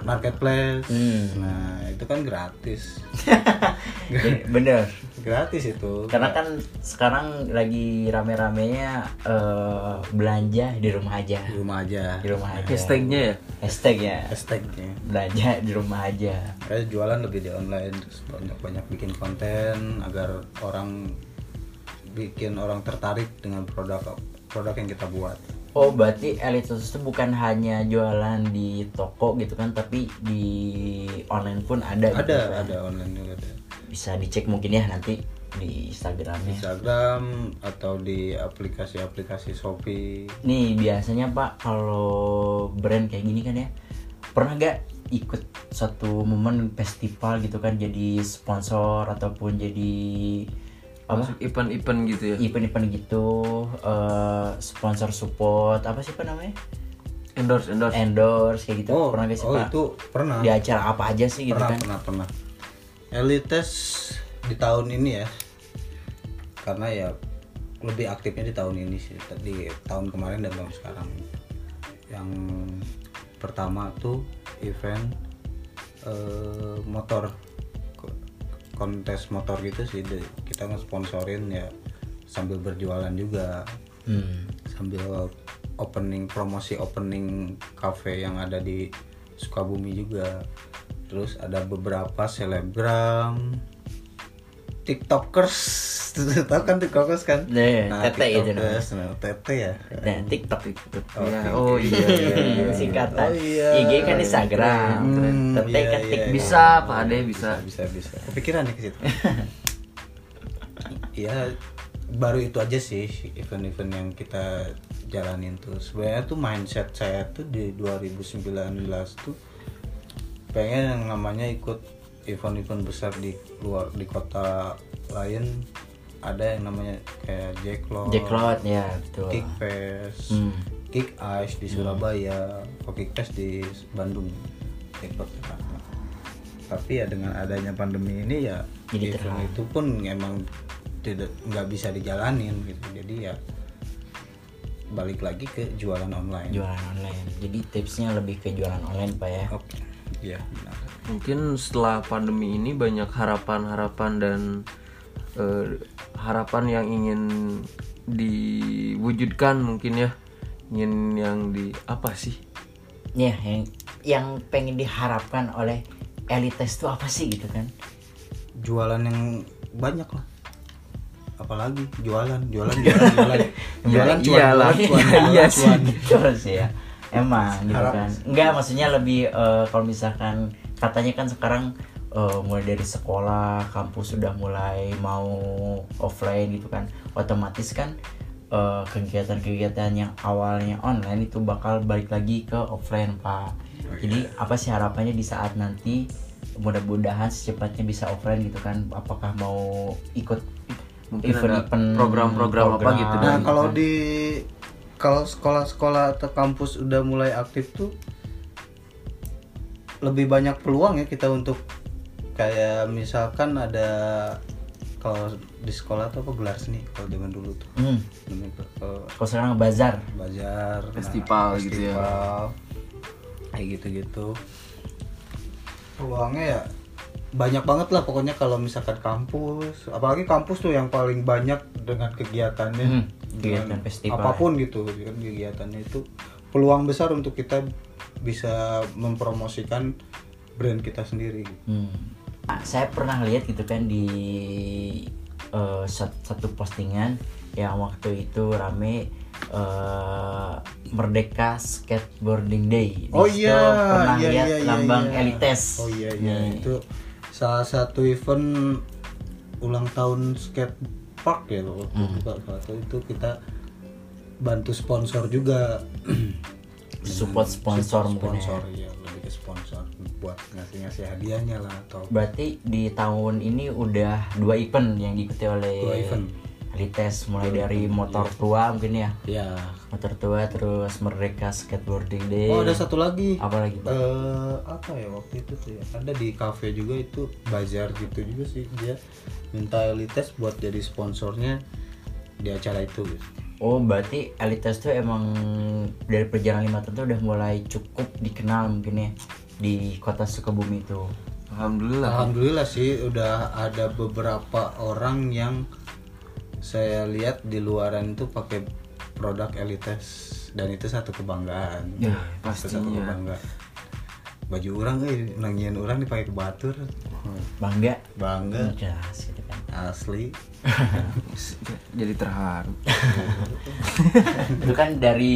Speaker 3: marketplace
Speaker 1: Hmm.
Speaker 3: nah itu kan gratis
Speaker 1: Iya, bener
Speaker 3: gratis itu
Speaker 1: karena kan sekarang lagi rame-ramenya eh, belanja di rumah aja
Speaker 3: di rumah aja
Speaker 1: di rumah aja
Speaker 2: hashtagnya ya
Speaker 1: hashtag ya
Speaker 3: hashtagnya
Speaker 1: belanja di rumah aja
Speaker 3: Saya jualan lebih di online terus banyak-banyak bikin konten agar orang bikin orang tertarik dengan produk produk yang kita buat.
Speaker 1: Oh berarti elitus itu bukan hanya jualan di toko gitu kan tapi di online pun ada, gitu kan?
Speaker 3: Ada ada online juga ada.
Speaker 1: bisa dicek mungkin ya nanti di Instagramnya
Speaker 3: Instagram atau di aplikasi-aplikasi Shopee.
Speaker 1: Nih biasanya Pak kalau brand kayak gini kan ya pernah gak ikut suatu momen festival gitu kan jadi sponsor ataupun jadi apa
Speaker 2: masuk event-event gitu ya
Speaker 1: event-event gitu eh, sponsor support apa sih Pak namanya
Speaker 2: endorse endorse
Speaker 1: endorse kayak gitu pernah gak sih
Speaker 3: oh
Speaker 1: Pak
Speaker 3: itu pernah.
Speaker 1: di acara apa aja sih gitu
Speaker 3: pernah,
Speaker 1: kan
Speaker 3: pernah pernah. Elites di tahun ini ya karena ya lebih aktifnya di tahun ini sih di tahun kemarin dan tahun sekarang yang pertama tuh event eh, motor Ko- kontes motor gitu sih di- kita ngesponsorin ya sambil berjualan juga
Speaker 1: Hmm.
Speaker 3: sambil opening promosi opening cafe yang ada di Sukabumi juga terus ada beberapa selebgram tiktokers tahu kan tiktokers kan
Speaker 1: Iya, Tete itu
Speaker 3: tiktokers nah, tete ya
Speaker 1: Nah, TikTok itu.
Speaker 2: Ya, oh iya, iya, iya.
Speaker 1: Singkatan.
Speaker 3: Oh, iya.
Speaker 1: IG kan Instagram.
Speaker 3: Keren.
Speaker 1: Tete
Speaker 3: Iya,
Speaker 1: kan
Speaker 3: iya,
Speaker 1: tik-
Speaker 3: iya.
Speaker 2: Bisa, Pak Ade bisa.
Speaker 3: bisa bisa Nah, kepikiran nih ke situ ya baru itu aja sih event-event yang kita jalanin tuh sebenarnya tuh mindset saya tuh di 2019 tuh pengen yang namanya ikut event-event besar di luar di kota lain ada yang namanya kayak Jacklot,
Speaker 1: Jack Road, ya betul.
Speaker 3: Kick Fest,
Speaker 1: Hmm.
Speaker 3: Kick Ice
Speaker 2: Hmm.
Speaker 3: di Surabaya, kok Kick Fest di Bandung, Depok Jakarta. Tapi ya dengan adanya pandemi ini ya
Speaker 1: Jadi
Speaker 3: event itu pun emang tidak nggak bisa dijalanin gitu. Jadi ya balik lagi ke jualan online.
Speaker 1: Jualan online. Jadi tipsnya lebih ke jualan online pak ya.
Speaker 3: Oke, iya benar.
Speaker 2: Mungkin setelah pandemi ini banyak harapan-harapan dan eh, harapan yang ingin diwujudkan mungkin ya. Ingin yang di apa sih?
Speaker 1: Ya, yang yang pengen diharapkan oleh elites itu apa sih gitu kan?
Speaker 3: Jualan yang banyak lah. Apalagi jualan, jualan, jualan, jualan. jualan cuan,
Speaker 2: Iya, iyalah.
Speaker 3: jualan, cuan,
Speaker 2: Iya, iya
Speaker 3: jualan,
Speaker 2: sih.
Speaker 3: cuan.
Speaker 1: Terus ya. Emang gitu
Speaker 3: Harap-
Speaker 1: kan. Enggak maksudnya lebih eh, kalau misalkan katanya kan sekarang eh, mulai dari sekolah, kampus sudah mulai mau offline gitu kan. Otomatis kan eh, kegiatan-kegiatan yang awalnya online itu bakal balik lagi ke offline, Pak.
Speaker 2: Oh,
Speaker 1: Jadi
Speaker 2: iya.
Speaker 1: apa sih harapannya di saat nanti mudah-mudahan secepatnya bisa offline gitu kan. Apakah mau ikut
Speaker 2: Mungkin ada program-program apa gitu
Speaker 1: program.
Speaker 2: dan
Speaker 3: Nah,
Speaker 1: kan?
Speaker 3: kalau di kalau sekolah-sekolah atau kampus udah mulai aktif tuh lebih banyak peluang ya kita untuk kayak misalkan ada kalau di sekolah tuh apa gelar seni kalau zaman dulu tuh
Speaker 1: Hmm,
Speaker 3: demi ke, ke-
Speaker 1: kalau sekarang bazar.
Speaker 3: bazar
Speaker 2: Festival gitu ya.
Speaker 3: nah, festival, kayak gitu-gitu peluangnya ya banyak banget lah pokoknya kalau misalkan kampus apalagi kampus tuh yang paling banyak dengan kegiatannya
Speaker 1: Hmm,
Speaker 3: dengan
Speaker 1: kegiatan festival.
Speaker 3: apapun gitu dengan kegiatannya itu peluang besar untuk kita bisa mempromosikan brand kita sendiri
Speaker 1: Hmm. Nah, saya pernah lihat gitu kan di eh, sat- satu postingan yang waktu itu rame eh, Merdeka Skateboarding Day. Di
Speaker 3: Oh
Speaker 1: situ
Speaker 3: iya,
Speaker 1: pernah
Speaker 3: iya,
Speaker 1: lihat
Speaker 3: iya, iya,
Speaker 1: lambang
Speaker 3: iya.
Speaker 1: elites. Hmm.
Speaker 3: Oh iya iya
Speaker 1: Nih.
Speaker 3: itu salah satu event ulang tahun skate park ya loh.
Speaker 1: Hmm.
Speaker 3: itu kita bantu sponsor juga.
Speaker 1: Support sponsor mungkin ya.
Speaker 3: sponsor ya. lebih ke sponsor buat ngasih-ngasih hadiahnya lah atau
Speaker 1: Berarti di tahun ini udah dua event yang diikuti oleh
Speaker 3: Dua event. iya.
Speaker 1: elites mulai dari motor tua mungkin ya.
Speaker 3: ya.
Speaker 1: Motor tua terus Merdeka Skateboarding Day.
Speaker 3: Oh ada satu lagi.
Speaker 1: Iya. apa lagi? Pak?
Speaker 3: eh apa ya waktu itu tuh ya ada di cafe juga itu bazar gitu juga sih dia minta elites buat jadi sponsornya di acara itu gitu.
Speaker 1: Oh berarti elites tuh emang dari perjalanan lima tahun tuh udah mulai cukup dikenal mungkin ya di kota Sukabumi itu.
Speaker 2: Alhamdulillah.
Speaker 3: Alhamdulillah sih udah ada beberapa orang yang saya lihat di luaran itu pakai produk elites dan itu satu kebanggaan.
Speaker 2: Ya,
Speaker 3: Itu satu
Speaker 2: pastinya.
Speaker 3: kebanggaan. Baju orang eh nangian orang dipakai ke batur.
Speaker 1: Bangga.
Speaker 3: Bangga
Speaker 1: Jelas gitu kan.
Speaker 3: asli.
Speaker 2: Jadi terharu.
Speaker 1: Itu kan dari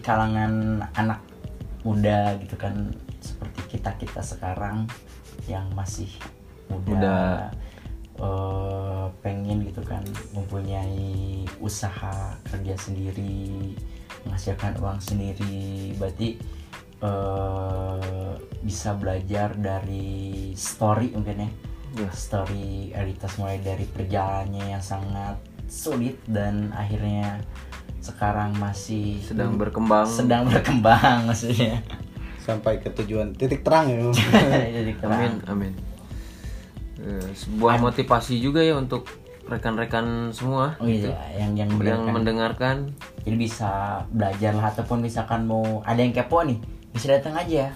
Speaker 1: kalangan anak muda gitu kan seperti kita kita sekarang yang masih muda. eh, pengen gitu kan mempunyai usaha kerja sendiri menghasilkan uang sendiri berarti eh, bisa belajar dari story mungkin ya
Speaker 2: Ya.
Speaker 1: story Elitas mulai dari perjalanannya yang sangat sulit dan akhirnya sekarang masih
Speaker 2: Sedang berkembang.
Speaker 1: sedang berkembang maksudnya
Speaker 3: Sampai ke tujuan titik terang ya.
Speaker 1: Jadi
Speaker 2: Amin,
Speaker 1: terang.
Speaker 2: amin. Eh, Sebuah motivasi juga ya untuk rekan-rekan semua
Speaker 1: Oh iya, yang yang
Speaker 2: yang
Speaker 1: mendengarkan.
Speaker 2: mendengarkan
Speaker 1: Jadi bisa belajar lah ataupun misalkan mau ada yang kepo nih, bisa datang aja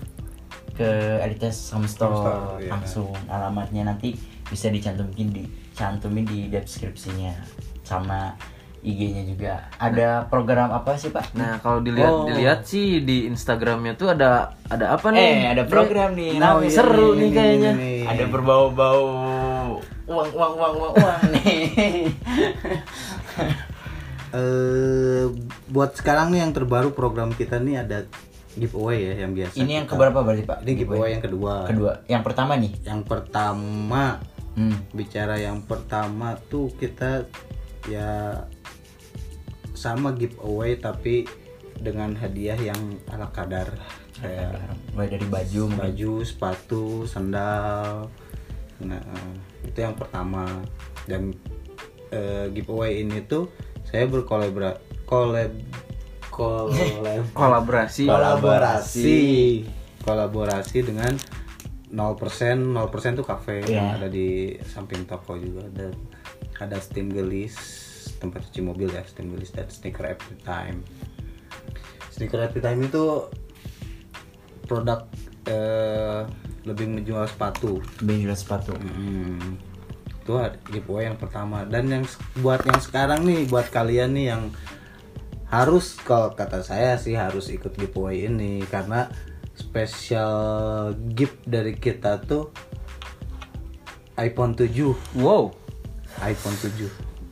Speaker 1: ke Editas Home Store
Speaker 3: Store, iya.
Speaker 1: langsung alamatnya nanti bisa dicantumkin di cantumin di deskripsinya sama IG-nya juga. Ada program apa sih Pak?
Speaker 2: Nah, kalau dilihat
Speaker 1: Oh.
Speaker 2: dilihat sih di Instagramnya tuh ada ada apa nih?
Speaker 1: eh ada program nih,
Speaker 2: Nah,
Speaker 1: namanya
Speaker 2: seru nih kayaknya.
Speaker 1: Ada berbau-bau uang uang uang uang uang nih.
Speaker 3: eh buat sekarang nih yang terbaru program kita nih ada giveaway ya yang biasa.
Speaker 1: Ini yang
Speaker 3: kita-
Speaker 1: keberapa berarti Pak?
Speaker 3: Ini giveaway yang kedua.
Speaker 1: kedua. Yang pertama nih.
Speaker 3: Yang pertama
Speaker 1: Hmm.
Speaker 3: bicara yang pertama tuh kita ya sama giveaway tapi dengan hadiah yang ala kadar kayak
Speaker 1: Mulai dari baju, mungkin.
Speaker 3: baju, sepatu, sandal. Nah, itu yang pertama. Dan eh, giveaway ini tuh saya berkolabora kolab kolab
Speaker 2: Kolaborasi.
Speaker 3: kolaborasi kolaborasi dengan 0% 0% tuh kafe yang
Speaker 1: Iya.
Speaker 3: ada di samping toko juga dan ada steam gelis tempat cuci mobil ya steam gelis dan sneaker every time sneaker every time itu produk eh, lebih menjual sepatu
Speaker 1: Benjolan sepatu.
Speaker 3: Hmm. Itu ada giveaway yang pertama dan yang se- buat yang sekarang nih buat kalian nih yang harus kalau kata saya sih harus ikut giveaway ini karena special gift dari kita tuh iPhone 7,
Speaker 2: Wow,
Speaker 3: iPhone 7.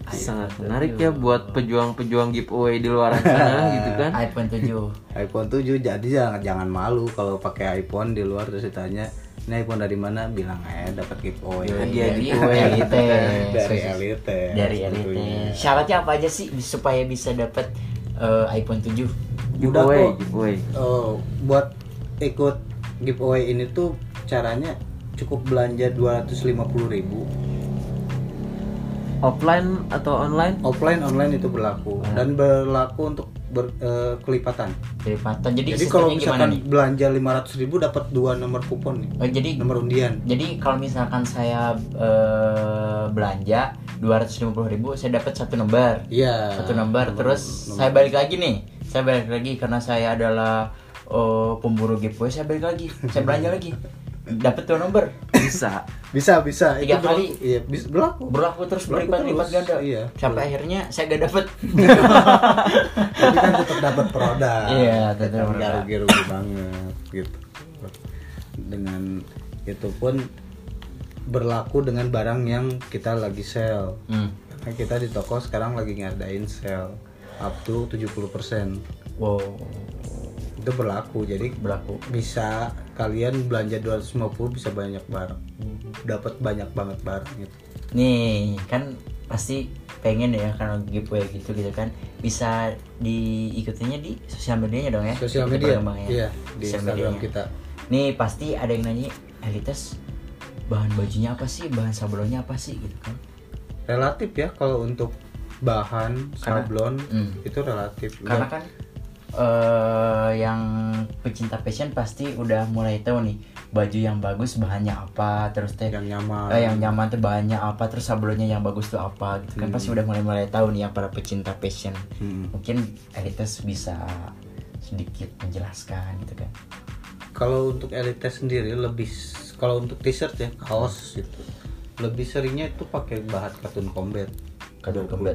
Speaker 2: sangat menarik ya buat pejuang-pejuang giveaway di luar sana gitu kan.
Speaker 1: iPhone 7.
Speaker 3: iPhone 7 jadi jangan jangan malu kalau pakai iPhone di luar terus ditanya ini iPhone dari mana bilang aja dapat giveaway Iya,
Speaker 2: Hadiah
Speaker 1: Dari
Speaker 2: giveaway.
Speaker 1: Iya, Elite.
Speaker 3: dari elite
Speaker 1: Dari Elite.
Speaker 3: tentunya.
Speaker 1: Syaratnya apa aja sih supaya bisa dapat eh, iPhone 7?
Speaker 3: Udah
Speaker 2: Giveaway,
Speaker 3: kok.
Speaker 2: giveaway.
Speaker 3: Oh, buat ikut giveaway ini tuh caranya cukup belanja 250.000.
Speaker 2: Offline atau online?
Speaker 3: Offline online itu berlaku dan berlaku untuk ber- eh, kelipatan.
Speaker 1: Kelipatan. Hmm. Jadi,
Speaker 3: Jadi
Speaker 1: sistemnya
Speaker 3: kalau
Speaker 1: gimana
Speaker 3: misalkan
Speaker 1: nih?
Speaker 3: belanja 500.000 dapat dua nomor kupon nih.
Speaker 1: Oh, jadi
Speaker 3: Nomor undian.
Speaker 1: jadi kalau misalkan saya eh, belanja 250.000 saya dapat satu lembar.
Speaker 3: Iya.
Speaker 1: satu nomor terus saya balik lagi nih saya balik lagi karena saya adalah eh, pemburu giveaway saya balik lagi saya belanja lagi dapat dua nomor
Speaker 2: Bisa.
Speaker 3: Bisa, bisa.
Speaker 1: Tiga
Speaker 3: itu berlaku.
Speaker 1: kali.
Speaker 3: Iya, bisa berlaku.
Speaker 1: berlaku terus
Speaker 3: Berlaku
Speaker 1: berlipat-lipat
Speaker 3: terus,
Speaker 1: ganda
Speaker 3: iya.
Speaker 1: sampai akhirnya saya gak dapet
Speaker 3: Tapi kan tetap dapat produk.
Speaker 1: Iya, tetap
Speaker 3: Tetap nggak
Speaker 1: produk.
Speaker 3: rugi-rugi banget gitu. Dengan itu pun berlaku dengan barang yang kita lagi sell.
Speaker 1: hmm.
Speaker 3: Karena kita di toko sekarang lagi ngadain sale up to 70%.
Speaker 1: wow
Speaker 3: Itu berlaku. Jadi
Speaker 1: berlaku
Speaker 3: bisa kalian belanja 250 bisa banyak barang. Dapat banyak banget barang gitu.
Speaker 1: nih kan pasti pengen ya kalau giveaway gitu gitu kan bisa diikutinya di sosial medianya dong ya
Speaker 3: Sosial
Speaker 1: Kita
Speaker 3: media.
Speaker 1: perkembangannya.
Speaker 3: Iya, di
Speaker 1: Sosial
Speaker 3: Instagram
Speaker 1: medianya.
Speaker 3: kita.
Speaker 1: Nih pasti ada yang nanya, Elites bahan bajunya apa sih, bahan sablonnya apa sih gitu kan?
Speaker 3: Relatif ya kalau untuk bahan
Speaker 1: Karena-
Speaker 3: sablon
Speaker 1: Hmm.
Speaker 3: itu relatif.
Speaker 1: Karena kan eh yang pecinta fashion pasti udah mulai tahu nih baju yang bagus bahannya apa, terus teh
Speaker 3: yang nyaman.
Speaker 1: eh, yang nyaman tuh bahannya apa, terus sablonnya yang bagus tuh apa gitu kan? Pasti udah mulai mulai tahu nih yang para pecinta fashion.
Speaker 3: Hmm.
Speaker 1: Mungkin Elites bisa sedikit menjelaskan gitu kan?
Speaker 3: Kalau untuk elite sendiri lebih kalau untuk t-shirt ya kaos gitu. Lebih seringnya itu pakai bahan katun combat.
Speaker 1: Katun
Speaker 3: 20
Speaker 1: combat.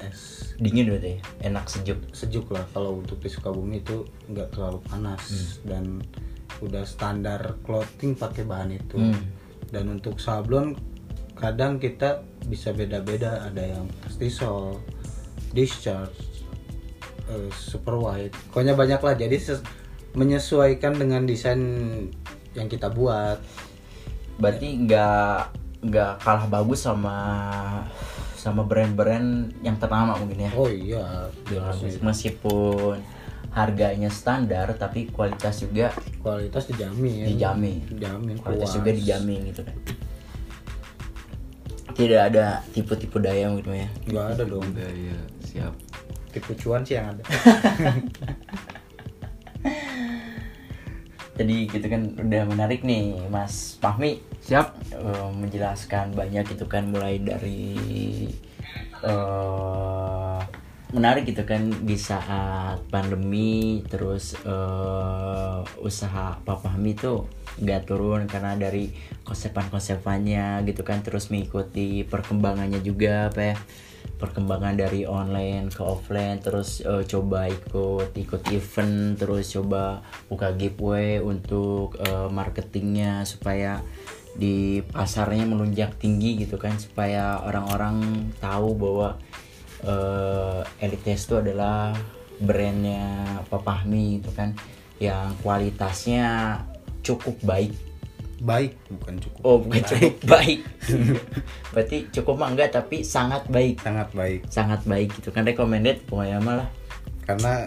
Speaker 3: 24S.
Speaker 1: Dingin udah deh, enak sejuk.
Speaker 3: Sejuk lah kalau untuk di Sukabumi itu nggak terlalu panas
Speaker 1: Hmm.
Speaker 3: dan udah standar clothing pakai bahan itu.
Speaker 1: Hmm.
Speaker 3: Dan untuk sablon kadang kita bisa beda-beda ada yang pastisol, discharge, eh, super wide. Pokoknya banyak lah. Jadi ses- menyesuaikan dengan desain yang kita buat.
Speaker 1: berarti nggak nggak kalah bagus sama sama brand-brand yang ternama mungkin ya
Speaker 3: Oh iya, jelas.
Speaker 1: meskipun harganya standar tapi kualitas juga
Speaker 3: kualitas dijamin.
Speaker 1: dijamin
Speaker 3: Iya. Dijamin
Speaker 1: kualitas
Speaker 3: puas.
Speaker 1: juga dijamin gitu kan tidak ada tipu-tipu daya gitu ya
Speaker 3: Nggak ada dong.
Speaker 2: Udah
Speaker 1: iya.
Speaker 2: ya, siap.
Speaker 3: Tipu cuan sih yang ada.
Speaker 1: tadi gitu kan udah menarik nih Mas Fahmi
Speaker 2: Siap.
Speaker 1: eh, menjelaskan banyak gitu kan mulai dari eh, menarik gitu kan di saat pandemi terus eh, usaha Pak Fahmi tuh nggak turun karena dari konsepan-konsepannya gitu kan terus mengikuti perkembangannya juga apa ya perkembangan dari online ke offline terus eh, coba ikut ikut event terus coba buka giveaway untuk eh, marketingnya supaya di pasarnya melunjak tinggi gitu kan supaya orang-orang tahu bahwa eh Elites itu adalah brandnya Papahmi gitu kan yang kualitasnya cukup baik
Speaker 3: baik bukan cukup
Speaker 1: oh bukan cukup baik berarti cukup mah enggak tapi sangat baik
Speaker 3: sangat baik
Speaker 1: sangat baik gitu kan recommended pokoknya malah
Speaker 3: karena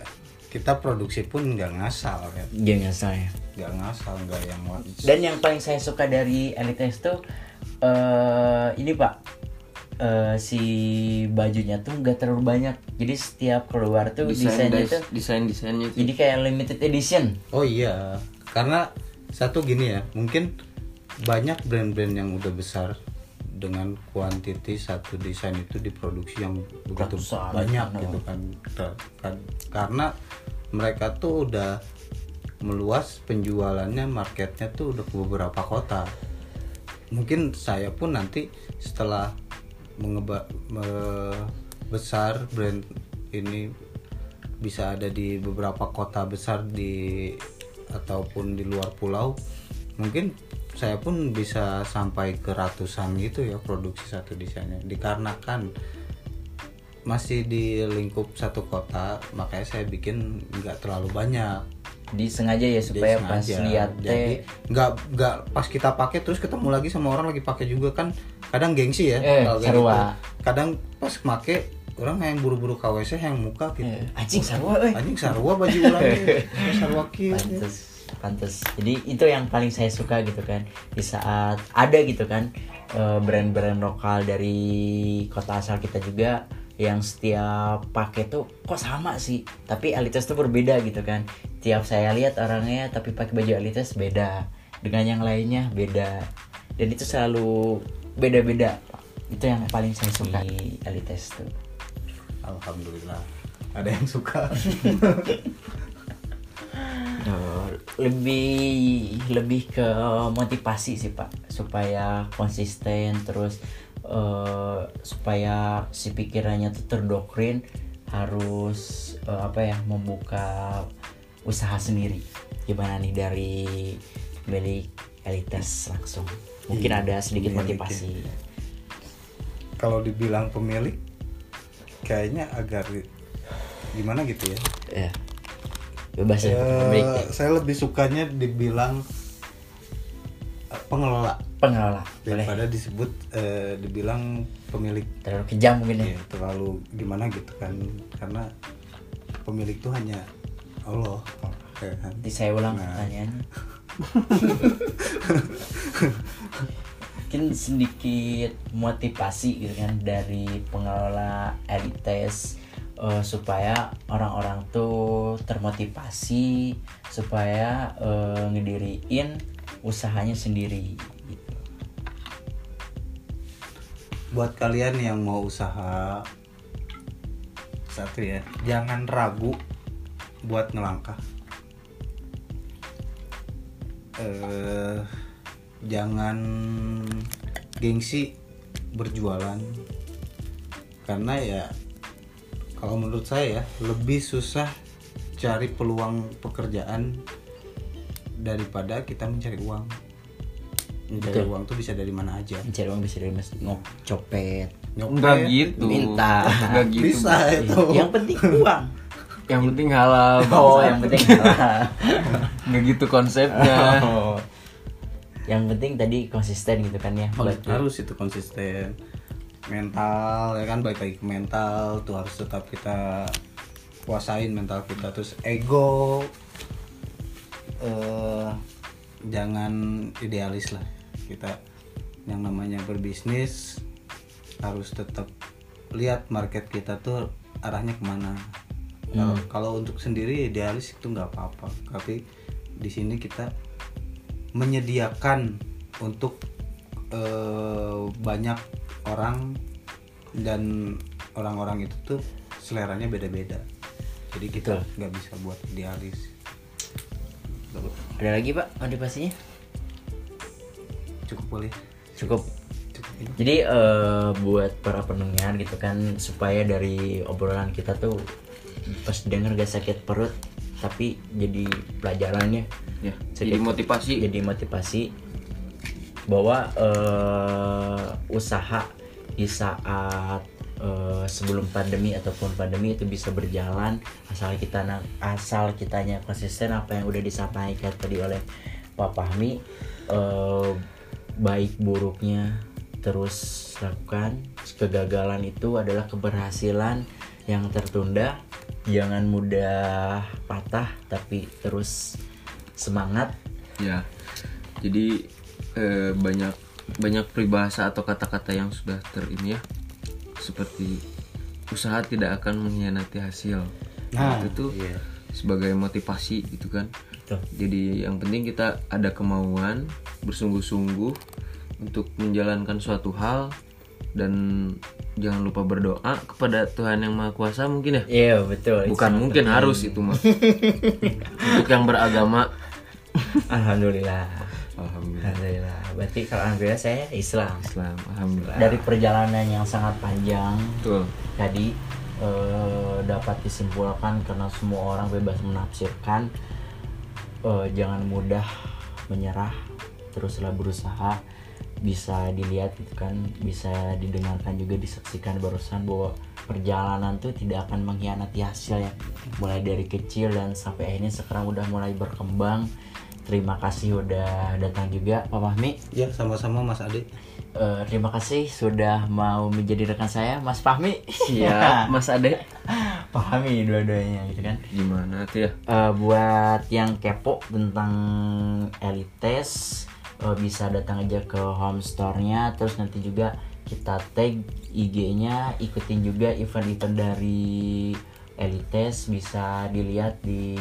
Speaker 3: kita produksi pun nggak ngasal ya
Speaker 1: jangan saya
Speaker 3: nggak ngasal nggak yang wa-
Speaker 1: dan yang paling saya suka dari Elites tuh eh ini pak eh, si bajunya tuh nggak terlalu banyak jadi setiap keluar tuh
Speaker 2: Desain
Speaker 1: desainnya tuh
Speaker 2: desain desainnya tuh.
Speaker 1: jadi kayak limited edition
Speaker 3: oh iya karena satu gini ya mungkin banyak brand-brand yang udah besar dengan kuantiti satu desain itu diproduksi yang begitu
Speaker 1: Ratusan.
Speaker 3: banyak gitu kan Ter- kan- karena mereka tuh udah meluas penjualannya marketnya tuh udah ke beberapa kota mungkin saya pun nanti setelah mengeba me- besar brand ini bisa ada di beberapa kota besar di ataupun di luar pulau mungkin saya pun bisa sampai ke ratusan gitu ya produksi satu desainnya dikarenakan masih di lingkup satu kota makanya saya bikin nggak terlalu banyak
Speaker 1: disengaja ya supaya
Speaker 3: Dia
Speaker 1: pas
Speaker 3: sengaja.
Speaker 1: lihat
Speaker 3: jadi
Speaker 1: teh
Speaker 3: nggak nggak pas kita pakai terus ketemu lagi sama orang lagi pakai juga kan kadang gengsi ya
Speaker 1: Eh,
Speaker 3: kalau kayak
Speaker 1: sarua.
Speaker 3: gitu. kadang pas make orang yang buru-buru KWC yang muka gitu
Speaker 1: anjing sarua eh
Speaker 3: anjing sarua baju orang nih. sarua kieu nih.
Speaker 1: pantes pantes jadi itu yang paling saya suka gitu kan di saat ada gitu kan eh, brand-brand lokal dari kota asal kita juga yang setiap pakai tuh kok sama sih tapi alitas tuh berbeda gitu kan tiap saya lihat orangnya tapi pakai baju alitas beda dengan yang lainnya beda dan itu selalu beda-beda itu yang paling saya suka di alitas tuh
Speaker 3: alhamdulillah ada yang suka
Speaker 1: Eh, lebih lebih ke motivasi sih pak supaya konsisten terus eh, supaya si pikirannya tuh terdoktrin harus eh, apa ya membuka usaha sendiri gimana nih dari milik elites langsung mungkin
Speaker 3: Iya,
Speaker 1: ada sedikit
Speaker 3: milik
Speaker 1: motivasi
Speaker 3: kalau dibilang pemilik kayaknya agak ri- gimana gitu ya
Speaker 1: ya bebas ya
Speaker 3: Eh,
Speaker 1: milik
Speaker 3: saya lebih sukanya dibilang eh, pengelola
Speaker 1: pengelola boleh
Speaker 3: daripada disebut eh, dibilang pemilik
Speaker 1: terlalu kejam mungkin ya
Speaker 3: ya, terlalu gimana gitu kan karena pemilik tuh hanya Allah ya kan?
Speaker 1: Nanti saya ulang
Speaker 3: Nah.
Speaker 1: pertanyaannya. Mungkin sedikit motivasi gitu kan dari pengelola elites eh, supaya orang-orang tuh termotivasi supaya eh, ngediriin usahanya sendiri gitu.
Speaker 3: buat kalian yang mau usaha satu ya jangan ragu buat ngelangkah eh jangan gengsi berjualan karena ya kalau menurut saya ya lebih susah cari peluang pekerjaan daripada kita mencari uang mencari
Speaker 1: Betul.
Speaker 3: uang tuh bisa dari mana aja
Speaker 1: Mencari uang bisa dari mas ngok copet,
Speaker 2: Enggak gitu.
Speaker 1: Minta.
Speaker 2: Enggak gitu.
Speaker 3: Ah, bisa itu
Speaker 1: Iya. yang penting uang.
Speaker 2: Yang penting halal.
Speaker 1: Oh,
Speaker 2: bangsa.
Speaker 1: yang penting
Speaker 2: Enggak gitu konsepnya.
Speaker 1: Oh. Yang penting tadi konsisten gitu kan ya buat
Speaker 3: harus itu konsisten mental ya kan balik lagi ke mental tuh harus tetap kita kuasain mental kita terus ego eh jangan idealis lah kita yang namanya berbisnis harus tetap lihat market kita tuh
Speaker 1: Hmm.
Speaker 3: arahnya kemana Kalau- kalau untuk sendiri idealis itu nggak apa-apa tapi di sini kita menyediakan untuk eh, banyak orang dan orang-orang itu tuh seleranya beda-beda. Jadi kita nggak bisa buat idealis.
Speaker 1: Ada lagi pak motivasinya?
Speaker 3: Cukup boleh.
Speaker 1: Cukup
Speaker 3: Cukup ini.
Speaker 1: Jadi eh, buat para pendengar gitu kan supaya dari obrolan kita tuh pas denger gak sakit perut tapi jadi pelajarannya
Speaker 2: Ya,
Speaker 1: Jadi-
Speaker 2: jadi motivasi
Speaker 1: jadi motivasi bahwa eh, usaha di saat eh, sebelum pandemi ataupun pandemi itu bisa berjalan asal kita na- asal kitanya konsisten apa yang udah disampaikan tadi oleh Pak Fahmi eh, baik buruknya terus lakukan kegagalan itu adalah keberhasilan yang tertunda jangan mudah patah tapi terus semangat
Speaker 2: ya jadi eh, banyak banyak peribahasa atau kata-kata yang sudah ter ini ya seperti usaha tidak akan mengkhianati hasil
Speaker 3: Nah,
Speaker 2: itu tuh
Speaker 3: iya.
Speaker 2: sebagai motivasi gitu kan
Speaker 1: Betul.
Speaker 2: jadi yang penting kita ada kemauan bersungguh-sungguh untuk menjalankan suatu hal dan jangan lupa berdoa kepada Tuhan yang maha kuasa mungkin ya
Speaker 1: Iya betul. Itu
Speaker 2: bukan
Speaker 1: sangat
Speaker 2: mungkin
Speaker 1: penting.
Speaker 2: harus itu mah untuk yang beragama
Speaker 1: Alhamdulillah.
Speaker 2: alhamdulillah
Speaker 1: Alhamdulillah. Berarti kalau alhamdulillah saya Islam.
Speaker 2: Islam alhamdulillah
Speaker 1: Dari perjalanan yang sangat panjang
Speaker 2: betul
Speaker 1: tadi eh, dapat disimpulkan karena semua orang bebas menafsirkan. Eh, jangan mudah menyerah. Teruslah berusaha bisa dilihat gitu kan bisa didengarkan juga disaksikan barusan bahwa perjalanan tuh tidak akan mengkhianati hasil ya mulai dari kecil dan sampai akhirnya sekarang udah mulai berkembang terima kasih udah datang juga Pak Fahmi
Speaker 3: Ya, sama-sama Mas Ade.
Speaker 1: Eh, terima kasih sudah mau menjadi rekan saya Mas Fahmi
Speaker 2: Siap, Iya, Mas Ade.
Speaker 1: Fahmi dua-duanya gitu kan
Speaker 2: Gimana tuh ya?
Speaker 1: Eh, buat yang kepo tentang elites eh, bisa datang aja ke home store-nya terus nanti juga kita tag IG-nya ikutin juga event-event dari elites bisa dilihat di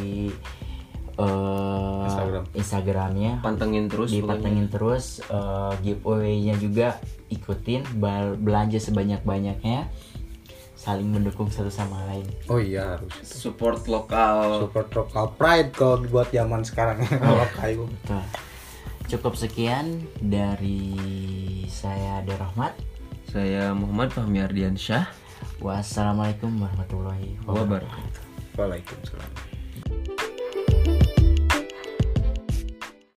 Speaker 1: eh,
Speaker 3: Instagram.
Speaker 1: Instagramnya
Speaker 2: Pantengin terus
Speaker 1: dipantengin terus eh, giveaway-nya juga ikutin bal- belanja sebanyak-banyaknya saling mendukung satu sama lain
Speaker 3: Oh iya, harus.
Speaker 2: pokoknya. support lokal.
Speaker 3: Support local pride kalau dibuat zaman sekarang. Kalau kayu.
Speaker 1: Betul. Gitu. Cukup sekian dari saya Ade Rahmat.
Speaker 2: Saya Muhammad Fahmi Ardiansyah.
Speaker 1: Wassalamualaikum warahmatullahi wabarakatuh.
Speaker 2: Wabarakatuh.
Speaker 3: Waalaikumsalam.